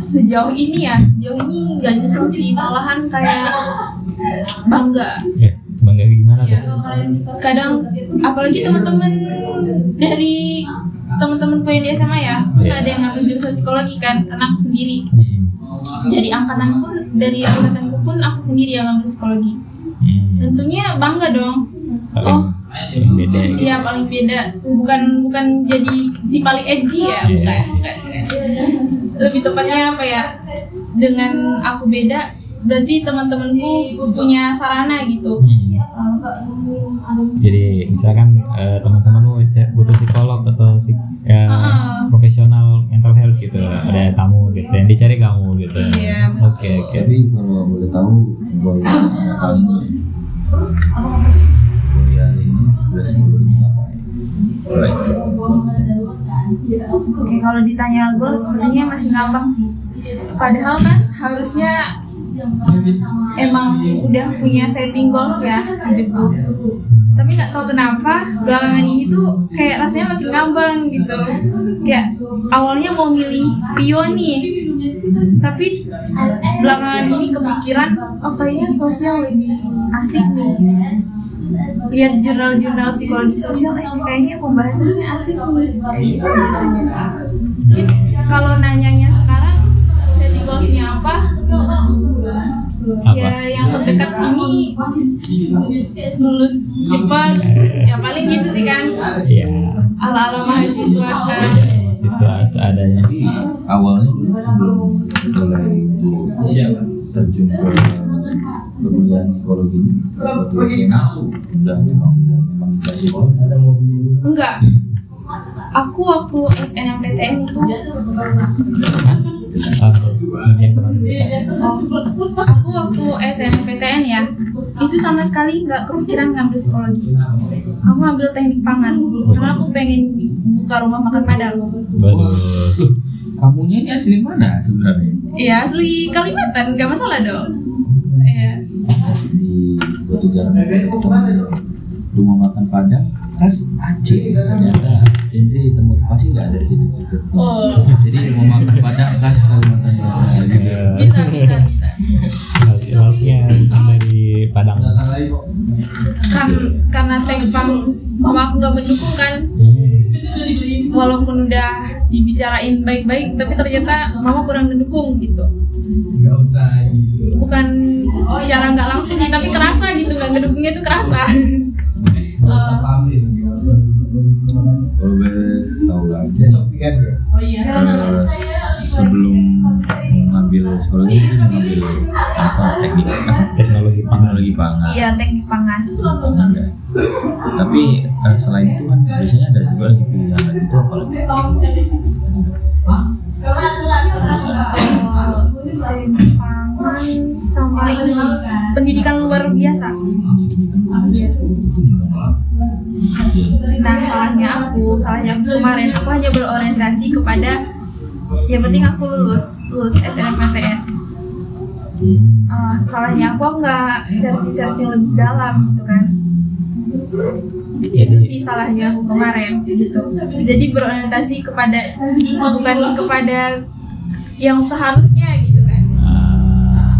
[SPEAKER 3] sejauh ini ya sejauh ini nggak nyesel sih malahan kayak bangga
[SPEAKER 1] ya bangga gimana
[SPEAKER 3] ya
[SPEAKER 1] tuh
[SPEAKER 3] kadang apalagi teman-teman dari teman-temanku yang di SMA ya kan
[SPEAKER 1] Iya.
[SPEAKER 3] ada yang ngambil jurusan psikologi kan karena aku sendiri
[SPEAKER 1] Hmm.
[SPEAKER 3] dari angkatan pun dari angkatanku pun aku sendiri yang ngambil psikologi
[SPEAKER 1] Hmm.
[SPEAKER 3] tentunya bangga dong
[SPEAKER 1] Paling
[SPEAKER 3] oh
[SPEAKER 1] yang beda gitu.
[SPEAKER 3] iya paling beda bukan bukan jadi si paling edgy ya
[SPEAKER 1] Iya.
[SPEAKER 3] bukan, bukan, bukan. lebih tepatnya apa ya dengan aku beda berarti teman-temanku punya sarana gitu
[SPEAKER 1] Hmm. Jadi misalkan eh, teman-teman mau cek- butuh psikolog atau psik- eh,
[SPEAKER 3] Ah, Heeh.
[SPEAKER 1] profesional mental health gitu, ada kamu gitu yang dicari kamu gitu.
[SPEAKER 3] Iya, betul.
[SPEAKER 1] Oke oke.
[SPEAKER 2] Tapi kalau boleh tahu boleh kan kuliah ini udah sebelumnya ngapain? Boleh.
[SPEAKER 3] Oke, kalau ditanya goals sebenarnya masih gampang sih. Padahal kan harusnya emang udah punya setting goals ya hidup tuh. Tapi nggak tahu kenapa belakangan ini tuh kayak rasanya makin ngambang gitu. Kayak awalnya mau milih pion nih, tapi belakangan ini kepikiran oh kayaknya sosial lebih asik nih. Lihat jurnal-jurnal psikologi sosial eh, kayaknya pembahasannya asik nih. Mungkin
[SPEAKER 1] Nah,
[SPEAKER 3] kalau nanyanya sekarang setting goalsnya apa? Ya yang terdekat ini lulus cepat. Ya paling gitu sih kan.
[SPEAKER 1] Iya.
[SPEAKER 3] Ala-ala mahasiswa sekarang.
[SPEAKER 1] Ya, siswa seadanya.
[SPEAKER 2] Tapi awalnya dulu sebelum mulai itu siapa terjun ke perkuliahan psikologi ini waktu SMA udah memang udah memang kita psikolog ada mau beli
[SPEAKER 3] Enggak. Aku waktu SNMPTN itu
[SPEAKER 1] Ah, yang kurang dekat.
[SPEAKER 3] aku waktu SNMPTN ya itu sama sekali nggak kepikiran ngambil psikologi aku ngambil teknik pangan karena aku pengen buka rumah makan padang
[SPEAKER 1] Waduh.
[SPEAKER 2] kamunya ini asli mana sebenarnya
[SPEAKER 3] Iya asli Kalimantan nggak masalah dong. Iya.
[SPEAKER 2] di batu jarang itu ketemu rumah makan padang khas Aceh ternyata ini termotivasi nggak ada di situ
[SPEAKER 3] Oh
[SPEAKER 2] jadi rumah makan padang khas Kalimantan Barat gitu
[SPEAKER 1] Iya.
[SPEAKER 3] bisa bisa bisa.
[SPEAKER 1] Lauk- Lauknya bukan dari Padang.
[SPEAKER 3] Kan karena Tengpang mama aku nggak mendukung kan.
[SPEAKER 1] Hmm.
[SPEAKER 3] Walaupun udah dibicarain baik-baik, tapi ternyata mama kurang mendukung gitu.
[SPEAKER 6] nggak usah gitu
[SPEAKER 3] Bukan secara nggak langsung sih, tapi kerasa gitu nggak ngedukungnya tuh kerasa.
[SPEAKER 6] nggak usah pamit gitu.
[SPEAKER 2] kalau boleh tahu lagi
[SPEAKER 6] besok tiket ya
[SPEAKER 2] eh, sebelum mengambil psikologi itu mengambil apa teknik
[SPEAKER 1] Teknologi pangan.
[SPEAKER 2] teknologi pangan
[SPEAKER 3] Iya teknik pangan.
[SPEAKER 2] pangan ya tapi eh, selain itu kan biasanya ada juga lagi pilihan lagi itu apa lagi
[SPEAKER 3] Teknik pangan sama ini pendidikan luar biasa. Iya. Nah salahnya aku, salahnya aku kemarin aku hanya berorientasi kepada yang penting aku lulus lulus SNMPTN. Eh, salahnya aku aku nggak searching searching lebih dalam gitu kan. Itu sih salahnya aku kemarin gitu. Jadi berorientasi kepada bukan kepada yang seharusnya gitu kan.
[SPEAKER 1] Ah.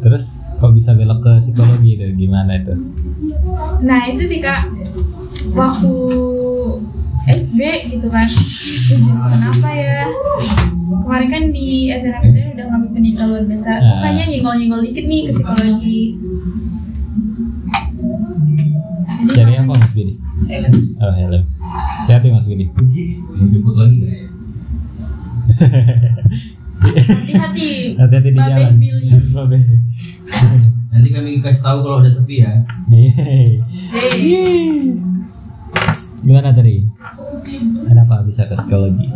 [SPEAKER 1] Terus kalau bisa belok ke psikologi itu gimana itu?
[SPEAKER 3] Nah itu sih kak waktu SB gitu kan itu jurusan apa ya kemarin kan di SNMPTN udah ngambil pendidikan luar biasa
[SPEAKER 1] Ah.
[SPEAKER 3] kayaknya nyenggol-nyenggol dikit nih ke psikologi
[SPEAKER 1] Cari apa Mas Bini? Oh helm. Hati-hati Mas Bini.
[SPEAKER 2] mau jemput lagi nggak ya?
[SPEAKER 3] hati-hati
[SPEAKER 1] Hati-hati di
[SPEAKER 3] Babeh
[SPEAKER 1] jalan.
[SPEAKER 3] Billy.
[SPEAKER 1] [LAUGHS] Babeh.
[SPEAKER 6] nanti kami kasih tahu kalau udah sepi ya
[SPEAKER 1] Yeay.
[SPEAKER 3] Hei.
[SPEAKER 1] Gimana tadi? Kenapa bisa ke psikologi?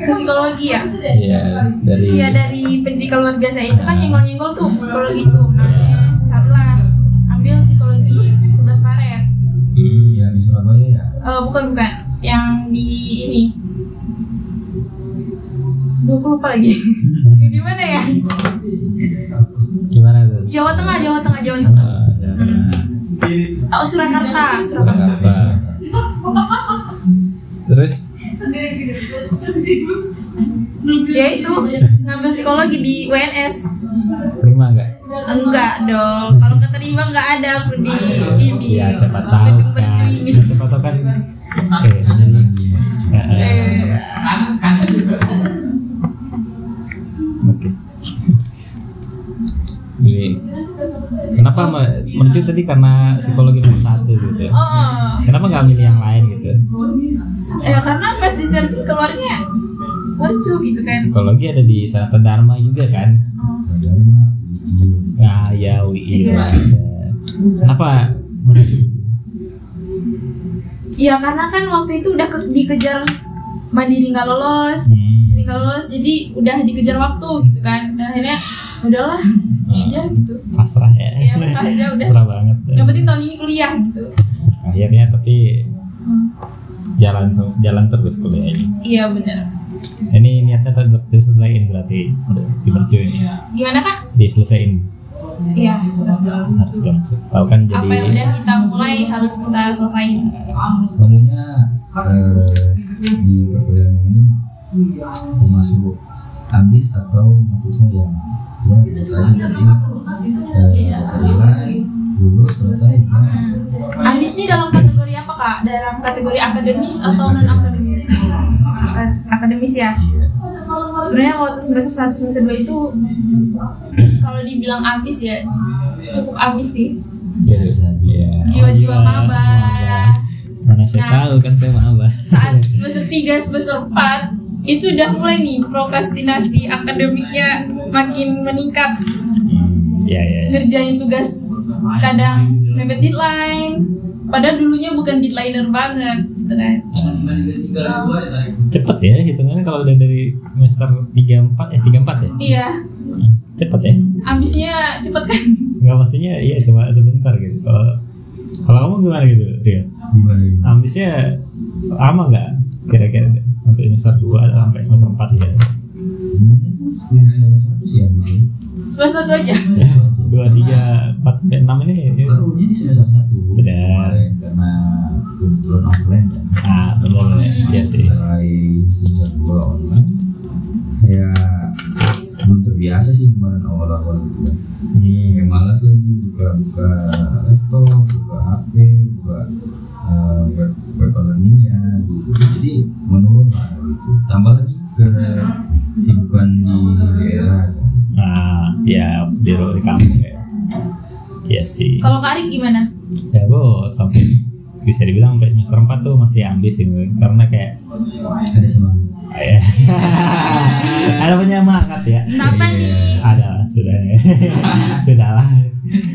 [SPEAKER 3] ke psikologi ya
[SPEAKER 1] Iya dari
[SPEAKER 3] Iya dari pendidikan luar biasa itu kan nyenggol-nyenggol tuh psikologi tuh makanya carilah ambil psikologi 11 Maret
[SPEAKER 1] Hmm,
[SPEAKER 2] ya di Surabaya ya
[SPEAKER 3] Eh, bukan bukan yang di ini Duh, aku lupa
[SPEAKER 1] [LAUGHS]
[SPEAKER 3] lagi di mana ya
[SPEAKER 1] gimana tuh?
[SPEAKER 3] Jawa Tengah Jawa Tengah Jawa Tengah
[SPEAKER 1] Ah, ya.
[SPEAKER 3] oh Surakarta Surakarta
[SPEAKER 1] Kenapa? Terus
[SPEAKER 3] ya itu ngambil psikologi di UNS
[SPEAKER 1] terima nggak?
[SPEAKER 3] enggak dong kalau keterima enggak ada aku di ini
[SPEAKER 1] Ya siapa tahu
[SPEAKER 3] gedung
[SPEAKER 1] kan.
[SPEAKER 3] mercu ini
[SPEAKER 1] Siapa tahu kan. Oke. Ya, eh.
[SPEAKER 3] Eh,
[SPEAKER 1] Oke. [LAUGHS] kenapa me- menuju tadi karena psikologi nomor satu gitu ya?
[SPEAKER 3] Oh,
[SPEAKER 1] Kenapa nggak milih yang lain gitu?
[SPEAKER 3] ya karena pas di charge keluarnya lucu gitu kan.
[SPEAKER 1] Psikologi ada di Sanata Dharma juga kan? Nah, ya UI
[SPEAKER 3] Iya.
[SPEAKER 1] ada. Kenapa menuju?
[SPEAKER 3] Ya karena kan waktu itu udah ke- dikejar mandiri nggak lolos,
[SPEAKER 1] Hmm.
[SPEAKER 3] mandiri nggak lolos, jadi udah dikejar waktu gitu kan. Dan akhirnya udahlah, ini aja gitu.
[SPEAKER 1] Pasrah ya? [LAUGHS]
[SPEAKER 3] Ya pasrah aja udah.
[SPEAKER 1] Pasrah banget.
[SPEAKER 3] Yang penting tahun ini kuliah gitu.
[SPEAKER 1] Akhirnya tapi jalan jalan terus kuliah ini.
[SPEAKER 3] Iya benar.
[SPEAKER 1] Ini niatnya tadi waktu itu selesaiin berarti udah dipercuin
[SPEAKER 3] Iya. Gimana kak?
[SPEAKER 1] diselesain
[SPEAKER 3] Iya harus dong.
[SPEAKER 1] harus dong. Tahu kan jadi
[SPEAKER 3] Apa yang udah kita mulai harus kita selesaiin.
[SPEAKER 2] kamunya eh, di perkuliahan ini termasuk ambis atau mahasiswa yang ya biasa
[SPEAKER 1] Iya.
[SPEAKER 2] aja nanti eh, dapat nilai lulus selesai
[SPEAKER 1] Iya.
[SPEAKER 2] ya.
[SPEAKER 3] Ambis ini dalam kategori apa kak? Dalam kategori akademis atau non akademis? Akademis ya. Sebenarnya waktu semester satu semester dua itu kalau dibilang ambis ya cukup ambis sih.
[SPEAKER 1] biasa ya.
[SPEAKER 3] Jiwa-jiwa
[SPEAKER 1] Iya,
[SPEAKER 3] maba.
[SPEAKER 1] Mana saya
[SPEAKER 3] Nah.
[SPEAKER 1] tahu kan saya maba.
[SPEAKER 3] Saat semester tiga semester empat itu udah mulai nih prokrastinasi akademiknya makin meningkat
[SPEAKER 1] Hmm, ya ya. ya.
[SPEAKER 3] ngerjain tugas kadang mepet deadline padahal dulunya bukan deadlineer banget gitu kan
[SPEAKER 1] Cepet ya hitungannya kalau udah dari semester 34 eh 34 ya.
[SPEAKER 3] iya
[SPEAKER 1] Cepet ya.
[SPEAKER 3] ambisnya cepet kan [LAUGHS]
[SPEAKER 1] Enggak maksudnya iya cuma sebentar gitu. Kalau kalau kamu gimana gitu, Rio?
[SPEAKER 2] gimana gimana
[SPEAKER 1] Ambisnya lama nggak kira-kira sampai semester 2 atau sampai semester 4 gitu?
[SPEAKER 2] Sebenarnya semester satu sih ambisnya
[SPEAKER 3] semester itu aja
[SPEAKER 1] dua tiga empat sampai enam ini ya.
[SPEAKER 2] serunya di semester satu
[SPEAKER 1] Benar.
[SPEAKER 2] kemarin karena kebetulan offline kan
[SPEAKER 1] ah benar ya sih
[SPEAKER 2] mulai season dua online kayak belum terbiasa sih kemarin awal-awal itu kan
[SPEAKER 1] hmm.
[SPEAKER 2] kayak malas lagi buka-buka laptop buka HP buka eh, web web learningnya gitu jadi menurun lah gitu tambah lagi ke sibukan di daerah kan.
[SPEAKER 1] ah ya di di kampung ya ya sih
[SPEAKER 3] kalau Kak Ari gimana
[SPEAKER 1] ya gua sampai bisa dibilang sampai semester empat tuh masih ambis sih gue. karena kayak
[SPEAKER 2] ada semangat
[SPEAKER 1] ya. [LAUGHS] ada penyemangat ya
[SPEAKER 3] kenapa nih
[SPEAKER 1] ada sudah [LAUGHS] sudahlah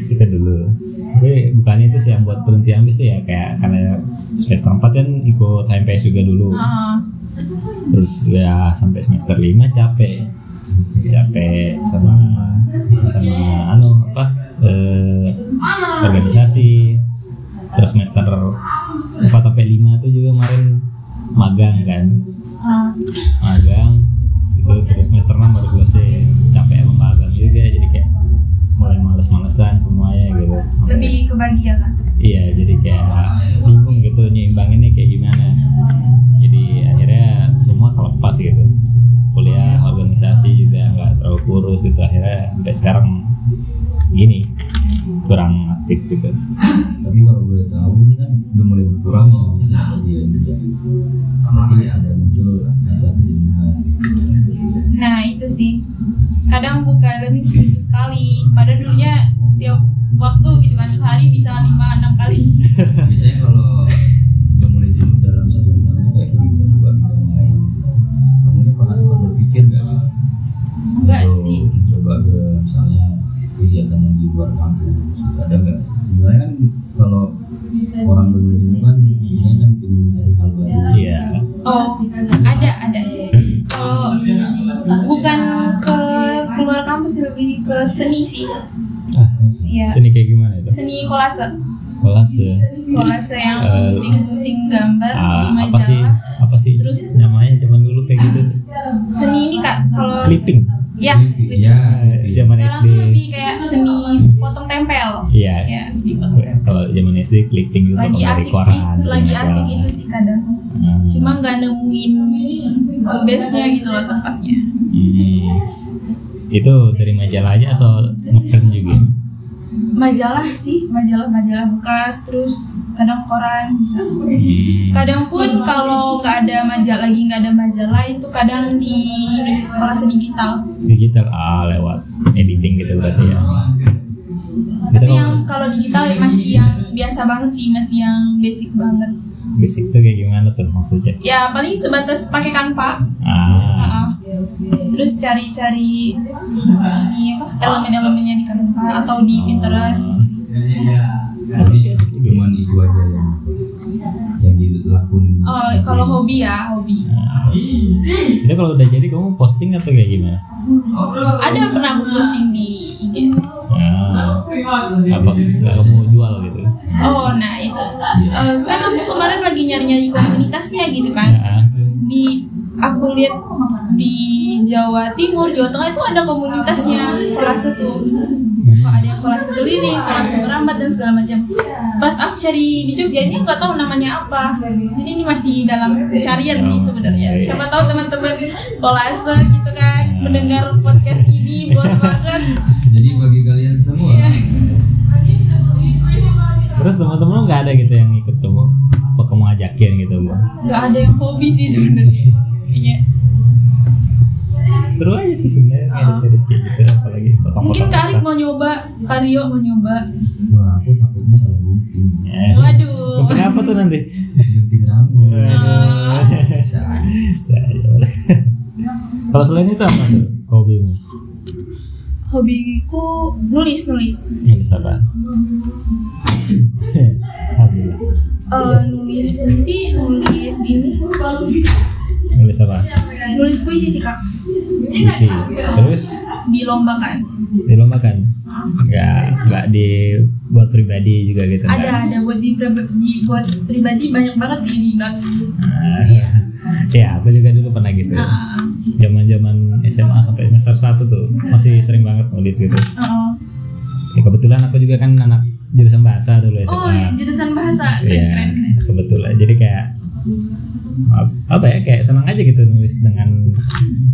[SPEAKER 1] kita dulu tapi bukannya itu sih yang buat berhenti ambis tuh ya kayak karena semester 4 kan ikut HMPS juga dulu
[SPEAKER 3] Oh,
[SPEAKER 1] terus ya sampai semester 5 capek capek sama sama anu apa eh, organisasi terus semester 4 sampai 5 tuh juga kemarin magang kan
[SPEAKER 3] oh.
[SPEAKER 1] magang itu terus semester 6 baru selesai capek emang magang juga jadi kayak mulai males-malesan semuanya gitu Sampai-
[SPEAKER 3] lebih kebagi ya kak
[SPEAKER 1] Iya, jadi kayak bingung gitu nyimbanginnya kayak gimana. Jadi akhirnya semua kelepas gitu. Kuliah
[SPEAKER 3] Oh, iya.
[SPEAKER 1] organisasi juga nggak terlalu kurus gitu. Akhirnya sampai sekarang gini kurang aktif gitu.
[SPEAKER 2] tapi kalau boleh tahu ini kan udah mulai berkurang ya bisa jadi yang dia nanti ada muncul rasa kejenuhan gitu.
[SPEAKER 3] nah itu sih kadang buka learning seminggu sekali padahal dulunya setiap waktu gitu kan sehari bisa lima enam kali
[SPEAKER 2] biasanya kalau udah mulai jenuh dalam satu bulan tuh kayak ingin mencoba bidang lain kamu ini pernah sempat berpikir nggak gitu?
[SPEAKER 3] enggak
[SPEAKER 2] Untuk
[SPEAKER 3] sih
[SPEAKER 2] mencoba ke misalnya kegiatan yang di luar kampus gitu. ada nggak misalnya kan kalau orang udah mulai jenuh kan biasanya kan ingin mencari hal baru
[SPEAKER 1] Iya.
[SPEAKER 3] Oh, ada, ada. Kalau bukan ke keluar kampus sih, lebih ke seni sih.
[SPEAKER 1] Ah,
[SPEAKER 3] Iya.
[SPEAKER 1] seni kayak gimana itu?
[SPEAKER 3] Seni kolase.
[SPEAKER 1] Kelas ya.
[SPEAKER 3] Kolase yang
[SPEAKER 1] Eh,
[SPEAKER 3] penting-penting gambar di
[SPEAKER 1] Ah, apa sih?
[SPEAKER 3] majalah.
[SPEAKER 1] Apa sih?
[SPEAKER 3] Terus-
[SPEAKER 1] namanya zaman dulu kayak gitu.
[SPEAKER 3] Seni ini Kak, kalau
[SPEAKER 1] Clipping.
[SPEAKER 3] ya.
[SPEAKER 2] iya
[SPEAKER 1] Eh, Zaman
[SPEAKER 3] Sekarang
[SPEAKER 1] SD.
[SPEAKER 3] tuh lebih kayak seni potong tempel.
[SPEAKER 1] Iya.
[SPEAKER 3] Ya, seni potong.
[SPEAKER 1] Kalau zaman SD clipping itu
[SPEAKER 3] Lagi
[SPEAKER 1] dari
[SPEAKER 3] asik,
[SPEAKER 1] koran.
[SPEAKER 3] itu,
[SPEAKER 1] dari
[SPEAKER 3] lagi
[SPEAKER 1] majalah.
[SPEAKER 3] asik itu sih kadang.
[SPEAKER 1] Ah.
[SPEAKER 3] Cuma nggak nemuin base-nya gitu loh tempatnya.
[SPEAKER 1] Hmm. Itu dari majalah aja atau ngeprint juga?
[SPEAKER 3] Hmm. Majalah sih, majalah-majalah bekas, terus kadang koran bisa.
[SPEAKER 1] Hmm.
[SPEAKER 3] kadang pun kalau nggak ada majalah lagi nggak ada majalah itu kadang di ini, kolase digital
[SPEAKER 1] Digital ah lewat editing gitu berarti ya.
[SPEAKER 3] tapi
[SPEAKER 1] Kita kalau-
[SPEAKER 3] yang kalau digital ya masih yang biasa banget sih masih yang basic banget
[SPEAKER 1] basic tuh kayak gimana tuh maksudnya
[SPEAKER 3] ya paling sebatas pakai kanva
[SPEAKER 1] ah
[SPEAKER 3] Ah. terus cari-cari ini apa elemen-elemennya di kanva atau di pinterest Iya
[SPEAKER 1] masih basic juga
[SPEAKER 6] Iya cuman itu aja yang yang dilakuin
[SPEAKER 3] oh, kalau hobi ya hobi
[SPEAKER 1] Ah. itu kalau udah jadi kamu posting atau kayak gimana
[SPEAKER 3] ada pernah aku posting di IG
[SPEAKER 1] ah apa nggak kamu jual gitu
[SPEAKER 3] oh nah itu Eh, kan aku kemarin lagi nyari-nyari komunitasnya gitu kan
[SPEAKER 1] ah
[SPEAKER 3] di aku lihat di Jawa Timur Jawa Tengah itu ada komunitasnya kolase tuh Kok ada yang kolase keliling kolase merambat dan segala macam pas aku cari di Jogja ini nggak tahu namanya apa jadi ini masih dalam pencarian sih sebenarnya siapa tahu teman-teman kolase gitu kan mendengar podcast ini boleh banget
[SPEAKER 6] jadi bagi kalian semua
[SPEAKER 3] Iya.
[SPEAKER 1] terus teman-teman lu nggak ada gitu yang ikut kamu apa kamu ajakin gitu bu
[SPEAKER 3] nggak ada yang hobi sih sebenarnya Iya. Kayaknya.
[SPEAKER 1] seru aja sih sebenarnya edit-edit kayak gitu apalagi potong-potong
[SPEAKER 3] mungkin Karik
[SPEAKER 1] kata.
[SPEAKER 3] mau nyoba Kario mau nyoba
[SPEAKER 6] wah aku takutnya salah gunting
[SPEAKER 1] Eh,
[SPEAKER 3] waduh
[SPEAKER 1] gunting apa tuh nanti
[SPEAKER 6] gunting rambut
[SPEAKER 1] Aduh.
[SPEAKER 6] bisa aja.
[SPEAKER 1] Saya boleh. Kalau selain itu apa tuh hobimu?
[SPEAKER 3] hobiku nulis nulis
[SPEAKER 1] Nulis apa? Alhamdulillah.
[SPEAKER 3] Eh, nulis puisi nulis ini
[SPEAKER 1] Nulis apa?
[SPEAKER 3] nulis puisi sih kak
[SPEAKER 1] Puisi. Terus
[SPEAKER 3] dilombakan
[SPEAKER 1] dilombakan? Enggak, enggak di buat pribadi juga gitu. nggak?
[SPEAKER 3] ada ada buat di, pri- di- buat pribadi banyak banget sih di belakang
[SPEAKER 1] Ah.
[SPEAKER 3] Iya.
[SPEAKER 1] Ya, aku juga dulu pernah gitu.
[SPEAKER 3] Ah.
[SPEAKER 1] Zaman-zaman SMA sampai semester 1 tuh masih sering banget nulis gitu.
[SPEAKER 3] Heeh.
[SPEAKER 1] Ya, kebetulan aku juga kan anak jurusan bahasa dulu SMA.
[SPEAKER 3] oh iya, jurusan bahasa keren keren
[SPEAKER 1] Iya, kebetulan. Jadi kayak ap- apa ya kayak senang aja gitu nulis dengan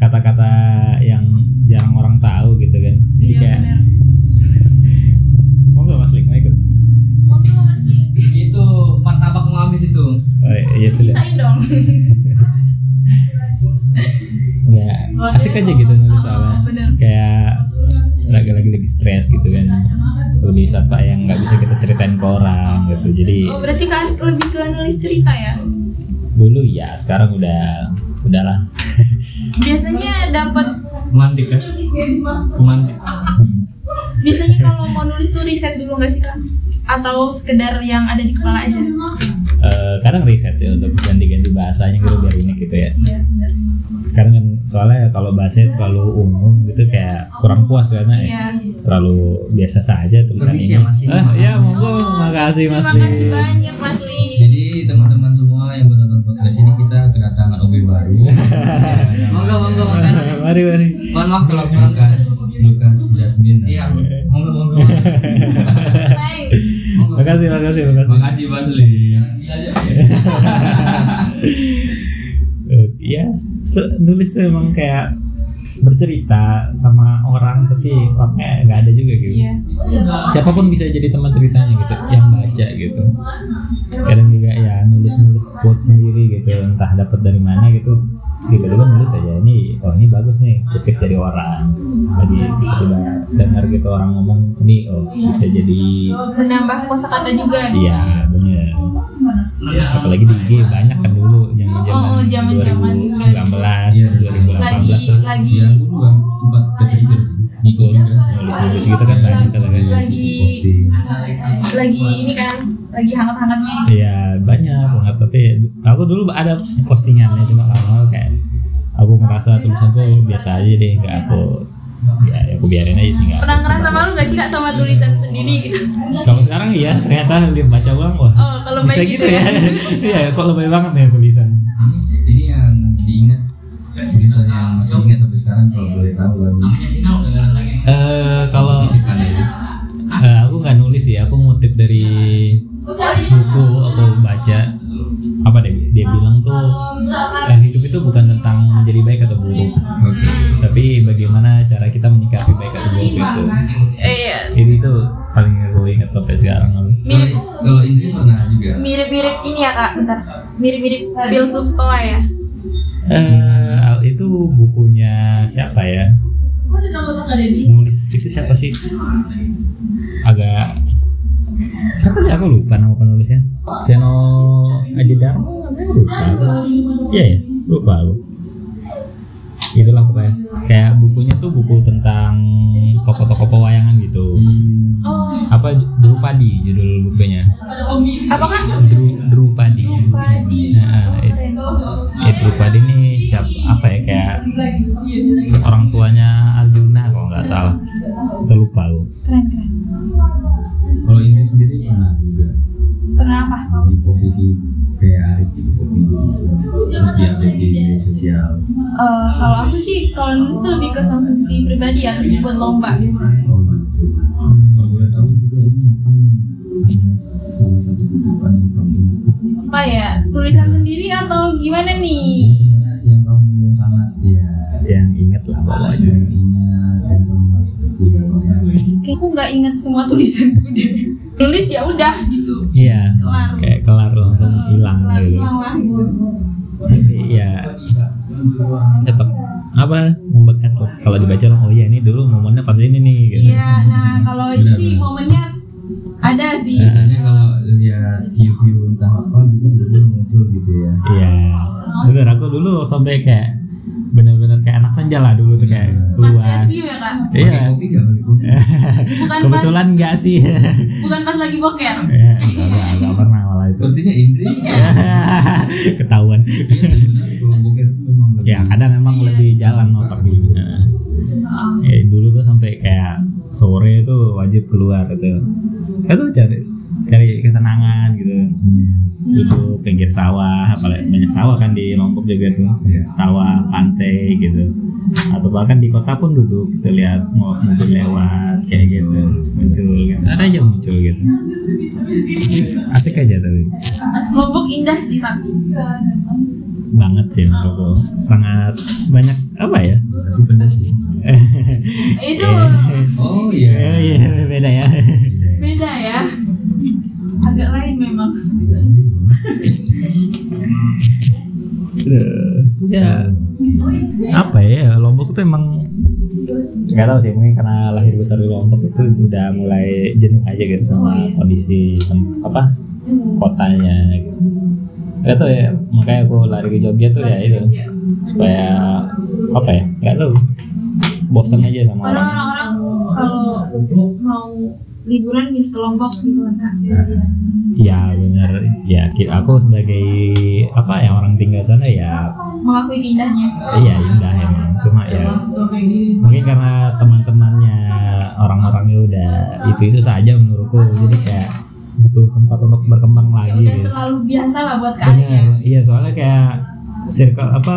[SPEAKER 1] kata-kata yang jarang orang tahu gitu kan. Jadi
[SPEAKER 3] iya
[SPEAKER 1] kayak
[SPEAKER 3] benar
[SPEAKER 1] mau nggak Mas Lik mau ikut?
[SPEAKER 6] itu martabak mau habis itu
[SPEAKER 1] Oh, iya, iya sudah.
[SPEAKER 3] pisahin dong
[SPEAKER 1] Ya, asik aja gitu nulis soalnya.
[SPEAKER 3] Oh, iya. Ah, bener.
[SPEAKER 1] Kayak lagi-lagi lagi stres gitu kan. Nulis apa yang nggak bisa kita ceritain ke orang gitu. Jadi
[SPEAKER 3] oh berarti kan lebih ke nulis cerita ya
[SPEAKER 1] dulu ya, sekarang udah udahlah.
[SPEAKER 3] biasanya dapat
[SPEAKER 6] romantik kan romantik
[SPEAKER 3] Hmm. biasanya kalau mau nulis tuh riset dulu nggak sih kak atau sekedar yang ada di kepala aja
[SPEAKER 1] Eh, kadang riset ya untuk ganti-ganti bahasanya gitu biar unik gitu ya
[SPEAKER 3] Iya,
[SPEAKER 1] sekarang kan soalnya kalau bahasanya terlalu umum gitu kayak kurang puas karena
[SPEAKER 3] Iya.
[SPEAKER 1] terlalu biasa saja tulisan
[SPEAKER 6] Permisi
[SPEAKER 1] ini
[SPEAKER 6] ya, Mas.
[SPEAKER 1] Eh, ya monggo makasih mas
[SPEAKER 3] Oh, terima kasih banyak mas Lee
[SPEAKER 6] jadi teman-teman semua yang menonton podcast ini kita kedatangan OB baru monggo monggo
[SPEAKER 1] Lim. mari mari
[SPEAKER 6] mohon maaf kalau Lukas Lukas Jasmine iya monggo monggo Monggo.
[SPEAKER 1] [LAUGHS] makasih makasih makasih
[SPEAKER 6] makasih Mas Lee
[SPEAKER 1] Eh, Iya, se- nulis tuh emang kayak bercerita sama orang tapi orangnya nggak ada juga gitu.
[SPEAKER 3] Iya.
[SPEAKER 1] Siapapun bisa jadi teman ceritanya gitu, yang baca gitu. Kadang juga ya nulis-nulis quote sendiri gitu, entah dapat dari mana gitu. Tiba-tiba nulis aja ini, oh ini bagus nih, kutip dari orang. Lagi tiba-tiba dengar gitu orang ngomong ini, oh bisa jadi
[SPEAKER 3] menambah kosakata juga gitu.
[SPEAKER 1] iya bener Iya. apalagi di IG banyak kan dulu zaman
[SPEAKER 3] Oh, oh,
[SPEAKER 1] zaman
[SPEAKER 3] zaman-zaman
[SPEAKER 1] 2019
[SPEAKER 3] lagi
[SPEAKER 1] 2018 tuh
[SPEAKER 3] lagi
[SPEAKER 6] ya aku juga sempat ketrigger sih Iya, ngikut juga sih
[SPEAKER 1] nulis nulis gitu kan banyak kan kan.
[SPEAKER 3] Lagi-
[SPEAKER 6] posting
[SPEAKER 3] lagi ini kan lagi hangat-hangatnya
[SPEAKER 1] iya banyak banget tapi aku dulu ada postingannya cuma lama kayak aku merasa tulisanku biasa aja deh nggak aku ya aku biarin aja sih nggak
[SPEAKER 3] pernah
[SPEAKER 1] aku-
[SPEAKER 3] ngerasa malu gak sih kak sama tulisan sendiri gitu
[SPEAKER 1] kalau sekarang iya ternyata lihat baca ulang wah
[SPEAKER 3] Oh, kalau
[SPEAKER 1] bisa
[SPEAKER 3] baik
[SPEAKER 1] gitu
[SPEAKER 3] gitu
[SPEAKER 1] ya [LAUGHS] iya kok lebih banget ya tulisan
[SPEAKER 6] Ini- ini yang diingat tulisan yang masih ingat sampai sekarang kalau
[SPEAKER 1] Iya.
[SPEAKER 6] boleh tahu kan
[SPEAKER 1] eh kalau eh, aku nggak nulis ya aku ngutip dari buku aku baca apa deh dia bilang tuh eh, hidup itu bukan tentang menjadi baik atau buruk
[SPEAKER 6] oke
[SPEAKER 1] tapi bagaimana cara kita menyikapi baik atau buruk itu
[SPEAKER 3] eh, yes.
[SPEAKER 1] ini tuh paling aku ingat sampai sekarang
[SPEAKER 6] kalau kalau Indri pernah juga
[SPEAKER 3] mirip-mirip ini ya kak bentar mirip-mirip filsuf stoa ya
[SPEAKER 1] eh itu bukunya siapa ya nulis itu siapa sih agak siapa sih aku lupa nama penulisnya Seno Adi Dharma namanya lupa aku. iya ya lupa aku itulah pokoknya kayak bukunya tuh buku tentang tokoh-tokoh pewayangan gitu
[SPEAKER 3] Oh,
[SPEAKER 1] apa Drupadi judul bukunya
[SPEAKER 3] apa kan?
[SPEAKER 1] Dru Drupadi
[SPEAKER 3] Drupadi.
[SPEAKER 1] Nah, eh, eh, Drupadi ini siapa apa ya kayak orang tuanya Arjuna kalau nggak salah terlupa lu
[SPEAKER 3] Keren keren.
[SPEAKER 6] Kalau Indri sendiri pernah juga
[SPEAKER 3] Pernah apa?
[SPEAKER 6] di posisi kayak Arif gitu, kopi gitu, terus di update di media sosial.
[SPEAKER 3] Eh, kalau aku sih kalau nulis tuh lebih ke konsumsi pribadi ya terus buat lomba biasanya.
[SPEAKER 6] Oh gitu. Kalau boleh tahu juga ini apa nih? Ada salah satu kutipan yang kamu ingat.
[SPEAKER 3] Apa ya tulisan sendiri atau gimana nih?
[SPEAKER 6] Sebenarnya Yang kamu sangat ya
[SPEAKER 1] yang inget lah
[SPEAKER 6] yang ingat dan kamu harus ya, berarti
[SPEAKER 3] Kayaknya aku nggak ingat semua tulisanku deh. Nulis ya udah gitu.
[SPEAKER 1] iya
[SPEAKER 3] Kelar.
[SPEAKER 1] kayak kelar langsung hilang
[SPEAKER 3] Kelar
[SPEAKER 1] gitu
[SPEAKER 3] hilang lah. gitu.
[SPEAKER 1] Tapi ya tetap apa membekas lah kalau dibaca lah oh iya ini dulu momennya pas ini nih gitu
[SPEAKER 3] Iya. Nah kalau itu
[SPEAKER 6] Benar,
[SPEAKER 3] sih
[SPEAKER 6] benar.
[SPEAKER 3] momennya ada sih.
[SPEAKER 2] Nah,
[SPEAKER 6] Biasanya kalau lihat view-view entah apa gitu jadi muncul gitu ya.
[SPEAKER 1] Iya. Bener aku dulu sampai kayak bener-bener kayak anak senja lah dulu tuh kayak
[SPEAKER 3] Pas
[SPEAKER 1] keluar.
[SPEAKER 3] review ya kak.
[SPEAKER 1] Iya. Eh.
[SPEAKER 6] Pakai kopi nggak pakai kopi?
[SPEAKER 3] Bukan pas
[SPEAKER 1] Kebetulan enggak sih? [LAUGHS]
[SPEAKER 3] bukan pas lagi [LAUGHS] boker.
[SPEAKER 1] Ya, enggak, enggak pernah malah itu. [LAUGHS]
[SPEAKER 6] Sepertinya Indri ya,
[SPEAKER 1] Ketahuan.
[SPEAKER 6] sebenarnya kalau boker itu memang lebih
[SPEAKER 1] Ya, kadang emang lebih jalan otak gitu. Ya, dulu tuh sampai kayak sore itu wajib keluar itu. Itu cari cari ketenangan gitu. Duduk pinggir sawah, apalagi banyak sawah kan di Lombok juga tuh.
[SPEAKER 6] Iya.
[SPEAKER 1] Sawah, pantai gitu. Atau bahkan di kota pun duduk kita lihat mo- mobil lewat kayak gitu. Muncul gitu. Ada aja muncul gitu. Asik aja tapi.
[SPEAKER 3] Lombok indah sih tapi.
[SPEAKER 1] banget sih menurutku sangat banyak apa ya [LAUGHS]
[SPEAKER 6] tapi pedas sih.
[SPEAKER 3] Itu
[SPEAKER 6] Oh
[SPEAKER 2] Eh,
[SPEAKER 1] ya
[SPEAKER 6] iya.
[SPEAKER 1] ya beda ya
[SPEAKER 3] beda ya. Agak lain memang.
[SPEAKER 1] ya apa ya Lombok tuh emang nggak tahu sih mungkin karena lahir besar di Lombok itu udah mulai jenuh aja gitu sama kondisi tem- apa kotanya gitu. Gak tau ya makanya aku lari ke Jogja tuh ya itu supaya apa ya nggak tahu bosan aja sama
[SPEAKER 3] Padahal
[SPEAKER 1] orang
[SPEAKER 3] orang-orang kalau mau liburan milih ke Lombok gitu kan kak.
[SPEAKER 1] Ya benar. Ya ki- aku sebagai apa ya orang tinggal sana ya
[SPEAKER 3] Mengakui keindahannya.
[SPEAKER 1] iya indah emang. Cuma ya mungkin karena teman-temannya orang-orangnya udah itu itu saja menurutku. Jadi kayak butuh tempat untuk berkembang
[SPEAKER 3] Ya
[SPEAKER 1] lagi.
[SPEAKER 3] udah
[SPEAKER 1] gitu.
[SPEAKER 3] terlalu biasa lah buat kak Ari ya.
[SPEAKER 1] Benar. Iya soalnya kayak circle apa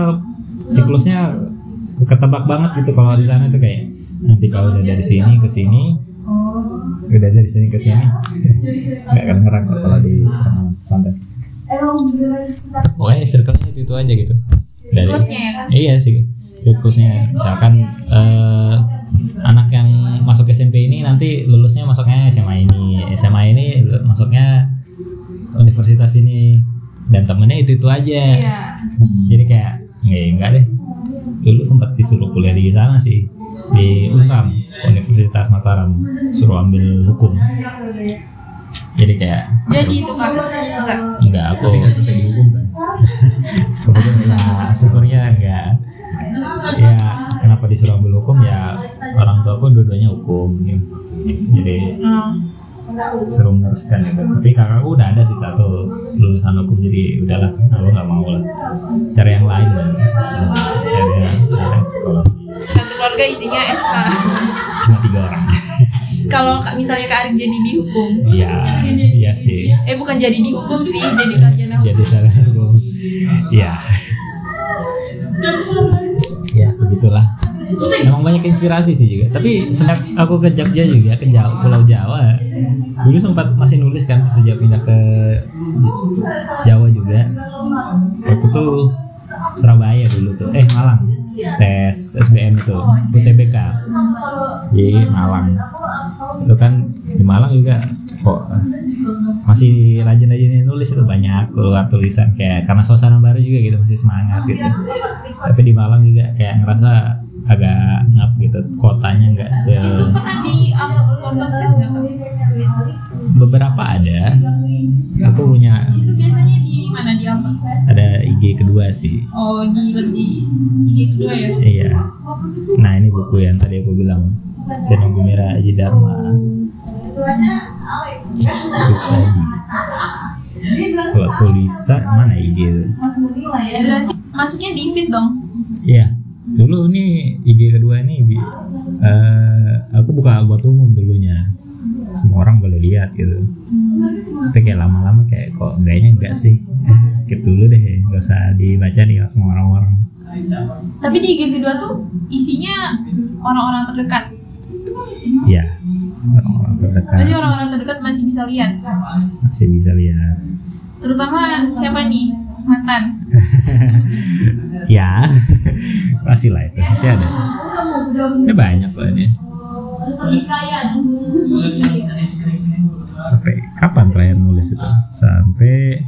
[SPEAKER 1] siklusnya ketebak banget gitu kalau di sana tuh kayak nanti kalau udah dari sini ke sini udah dari sini ke sini
[SPEAKER 3] Ya.
[SPEAKER 1] nggak akan ngerang kok kalau di tengah santai pokoknya circle-nya itu, itu aja gitu dari
[SPEAKER 3] Siklusnya ya kan.
[SPEAKER 1] iya sih siklusnya misalkan eh, anak yang masuk SMP ini nanti lulusnya masuknya SMA ini SMA ini masuknya universitas ini dan temennya itu itu aja
[SPEAKER 3] Iya.
[SPEAKER 1] jadi kayak nggak enggak deh dulu sempat disuruh kuliah di sana sih di Unram Universitas Mataram suruh ambil hukum jadi kayak
[SPEAKER 3] Jadi itu kak. Enggak.
[SPEAKER 1] enggak aku
[SPEAKER 6] Tapi nggak sampai dihukum
[SPEAKER 1] [LAUGHS]
[SPEAKER 6] kan?
[SPEAKER 1] Nah, syukurnya enggak. Ya, kenapa disuruh ambil hukum ya orang tua aku dua-duanya hukum. ya. Jadi
[SPEAKER 3] Hmm.
[SPEAKER 1] suruh meneruskan itu. Tapi kakakku udah ada sih satu lulusan hukum jadi udahlah, aku nggak mau lah. Cari yang lain lah. Cari yang cari yang psikologi.
[SPEAKER 3] Satu keluarga isinya SK.
[SPEAKER 1] Cuma tiga orang.
[SPEAKER 3] Kalau kak misalnya kak Ari jadi dihukum,
[SPEAKER 1] Iya, iya sih.
[SPEAKER 3] eh bukan jadi dihukum sih, jadi sarjana hukum.
[SPEAKER 1] Jadi sarjana hukum. Iya. Ya, begitulah. Emang banyak inspirasi sih juga. Tapi sejak aku ke Jogja juga ke Jawa, Pulau Jawa. Dulu sempat masih nulis kan sejak pindah ke Jawa juga. Waktu itu Surabaya dulu tuh. Eh, Malang. Tes SBM itu, UTBK. Di Malang. Itu kan di Malang juga kok masih rajin-rajin nulis itu banyak keluar tulisan kayak karena suasana baru juga gitu masih semangat gitu tapi di Malang juga kayak ngerasa agak ngap gitu kotanya nggak se
[SPEAKER 3] itu pernah di upload sosmed nggak Kak? tulis
[SPEAKER 1] beberapa ada aku punya
[SPEAKER 3] itu biasanya di mana di upload
[SPEAKER 1] ada IG kedua sih
[SPEAKER 3] oh di di di kedua ya
[SPEAKER 1] iya nah ini buku yang tadi aku bilang Senang Gumira Aji Dharma itu tadi kalau tulisan mana IG itu
[SPEAKER 3] berarti masuknya di feed dong
[SPEAKER 1] Iya. Dulu nih IG kedua ini bi- eh, aku buka buat umum dulunya. Semua orang boleh lihat gitu. Tapi kayak lama-lama kayak kok kayaknya enggak sih. [LAUGHS] Eh, skip dulu deh, nggak usah dibaca nih sama orang-orang.
[SPEAKER 3] tapi di IG kedua tuh isinya orang-orang terdekat
[SPEAKER 1] Iya. Orang-orang terdekat
[SPEAKER 3] berarti orang-orang terdekat masih bisa lihat
[SPEAKER 1] masih bisa lihat.
[SPEAKER 3] terutama siapa nih mantan
[SPEAKER 1] Ya, [LAUGHS] masih lah itu masih ada. Ini banyak loh ini. Sampai kapan terakhir nulis itu? Sampai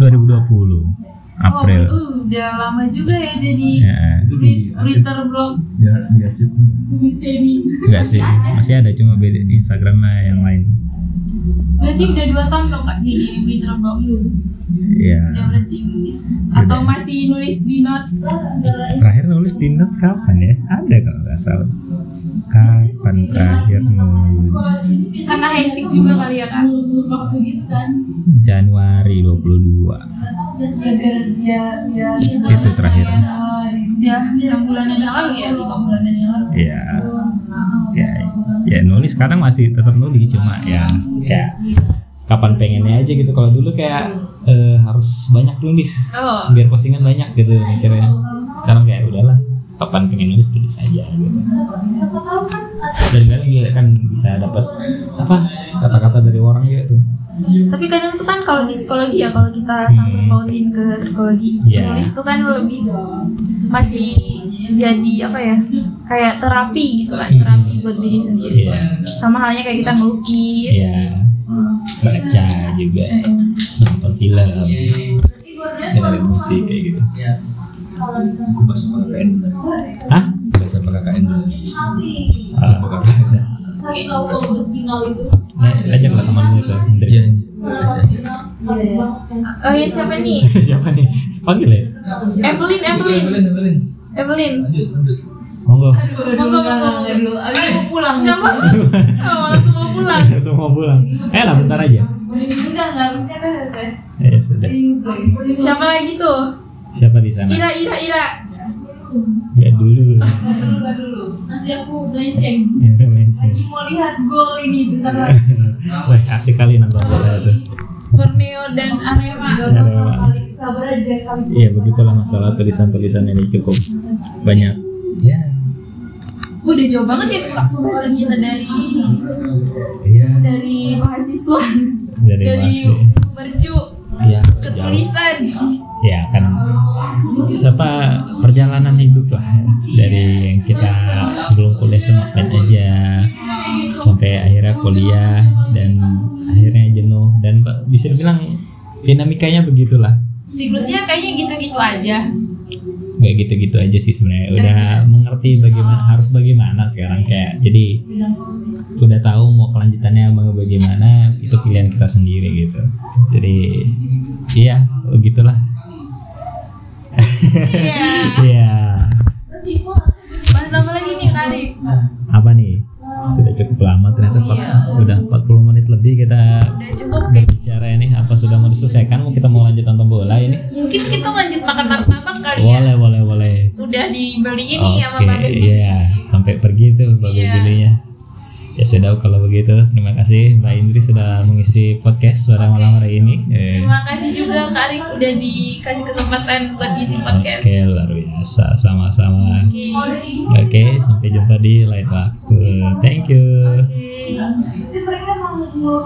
[SPEAKER 1] 2020 April.
[SPEAKER 3] oh, uh, udah lama juga ya jadi
[SPEAKER 1] Ya,
[SPEAKER 3] tweet- Twitter blog
[SPEAKER 2] Dia dia sih.
[SPEAKER 1] Iya. enggak sih, masih ada cuma beda di Instagram lah yang lain.
[SPEAKER 3] berarti udah dua tahun dong kak jadi Twitter blog
[SPEAKER 1] Ya,
[SPEAKER 3] udah berhenti nulis atau masih nulis di notes
[SPEAKER 1] terakhir nulis di notes kapan ya? Ada kalau nggak salah. Kapan terakhir nulis?
[SPEAKER 3] karena hektik juga kali ya kak
[SPEAKER 1] Januari 22
[SPEAKER 3] ya,
[SPEAKER 1] itu terakhir.
[SPEAKER 3] udah Ya, enam bulanan yang lalu ya lima bulanan yang lalu
[SPEAKER 1] Ya, ya, ya nulis sekarang masih tetap nulis cuma ya kayak kapan pengennya aja gitu. Kalau dulu kayak eh, harus banyak nulis
[SPEAKER 3] oh
[SPEAKER 1] biar postingan banyak gitu mikirnya. Sekarang kayak udahlah kapan pengen nulis tulis aja gitu. dan kadang dia kan bisa dapat apa kata-kata dari orang gitu
[SPEAKER 3] tapi kadang tuh kan kalau di psikologi ya kalau kita sampai pautin ke psikologi
[SPEAKER 1] Hmm. Iya.
[SPEAKER 3] nulis tuh kan lebih masih jadi apa ya kayak terapi gitu
[SPEAKER 1] Hmm.
[SPEAKER 3] kan terapi buat diri sendiri
[SPEAKER 1] Iya.
[SPEAKER 3] sama halnya kayak kita ngelukis
[SPEAKER 1] ya baca juga
[SPEAKER 3] Eh, Iya. eh.
[SPEAKER 1] nonton film
[SPEAKER 6] Iya,
[SPEAKER 1] dengerin musik kayak gitu
[SPEAKER 2] Aku pas sama KKN.
[SPEAKER 6] Iya,
[SPEAKER 1] hah
[SPEAKER 2] Pas sama KKN. dulu.
[SPEAKER 1] Ah, Eh,
[SPEAKER 2] Sama KKN.
[SPEAKER 1] ajak lah temanmu itu Hendrik.
[SPEAKER 2] Iya. baca.
[SPEAKER 3] oh ya siapa nih
[SPEAKER 1] [LAUGHS] siapa nih panggil ya
[SPEAKER 3] Evelyn Evelyn
[SPEAKER 6] iya.
[SPEAKER 2] Belin, belin.
[SPEAKER 3] Evelyn
[SPEAKER 2] Lanjut, lanjut.
[SPEAKER 1] [LAUGHS] monggo
[SPEAKER 3] monggo monggo
[SPEAKER 7] dulu abis mau pulang [LAUGHS]
[SPEAKER 3] nggak mau oh, langsung mau pulang
[SPEAKER 1] semua pulang eh lah bentar aja
[SPEAKER 7] udah nggak bisa
[SPEAKER 1] ya sudah
[SPEAKER 3] kan, siapa lagi tuh
[SPEAKER 1] siapa di sana
[SPEAKER 3] Ira Ira Ira
[SPEAKER 1] ya dulu
[SPEAKER 7] dulu dulu nanti aku belenceng
[SPEAKER 1] Itu mention.
[SPEAKER 7] lagi mau lihat gol ini bentar lagi
[SPEAKER 1] Wah asik kali nonton bola itu
[SPEAKER 3] Borneo dan Arema
[SPEAKER 1] Ya, lewat.
[SPEAKER 7] kabar aja kali
[SPEAKER 1] Iya begitulah masalah tulisan-tulisan ini cukup banyak ya
[SPEAKER 3] udah jauh banget ya kak pembahasan kita dari
[SPEAKER 1] iya
[SPEAKER 3] dari mahasiswa
[SPEAKER 1] dari
[SPEAKER 3] dari
[SPEAKER 1] masuk
[SPEAKER 3] mercu
[SPEAKER 1] Iya,
[SPEAKER 3] ke
[SPEAKER 1] jauh.
[SPEAKER 3] tulisan
[SPEAKER 1] Ya kan siapa perjalanan hidup lah ya, dari yang kita sebelum kuliah tuh ngapain aja sampai akhirnya kuliah dan akhirnya jenuh dan ba- bisa dibilang dinamikanya begitulah
[SPEAKER 3] siklusnya kayaknya gitu-gitu aja
[SPEAKER 1] nggak gitu-gitu aja sih sebenarnya udah mengerti bagaimana harus bagaimana sekarang kayak jadi udah tahu mau kelanjutannya mau bagaimana itu pilihan kita sendiri gitu jadi iya begitulah
[SPEAKER 3] iya
[SPEAKER 1] iya
[SPEAKER 3] bahas apa lagi nih kak Arif
[SPEAKER 1] apa nih sudah cukup lama ternyata empat- udah 40 menit lebih kita
[SPEAKER 3] Oh, iya. udah cukup kayak
[SPEAKER 1] berbicara ini apa sudah mau diselesaikan mau kita mau lanjut nonton bola ini
[SPEAKER 3] mungkin kita lanjut makan martabak kali ya
[SPEAKER 1] boleh boleh boleh
[SPEAKER 3] udah ya, dibeliin nih sama
[SPEAKER 1] oke
[SPEAKER 3] Mbak Betty
[SPEAKER 1] iya sampai pergi tuh bagai
[SPEAKER 3] Iya.
[SPEAKER 1] gilinya ya sudah kalau begitu terima kasih Mbak Indri sudah mengisi podcast pada malam hari ini Eh,
[SPEAKER 3] terima kasih juga kak Arif udah dikasih kesempatan buat ngisi podcast
[SPEAKER 1] Oke, luar biasa. Sama-sama. Oke, sampai jumpa di lain waktu. Thank you.
[SPEAKER 3] Oke.
[SPEAKER 5] Mereka mau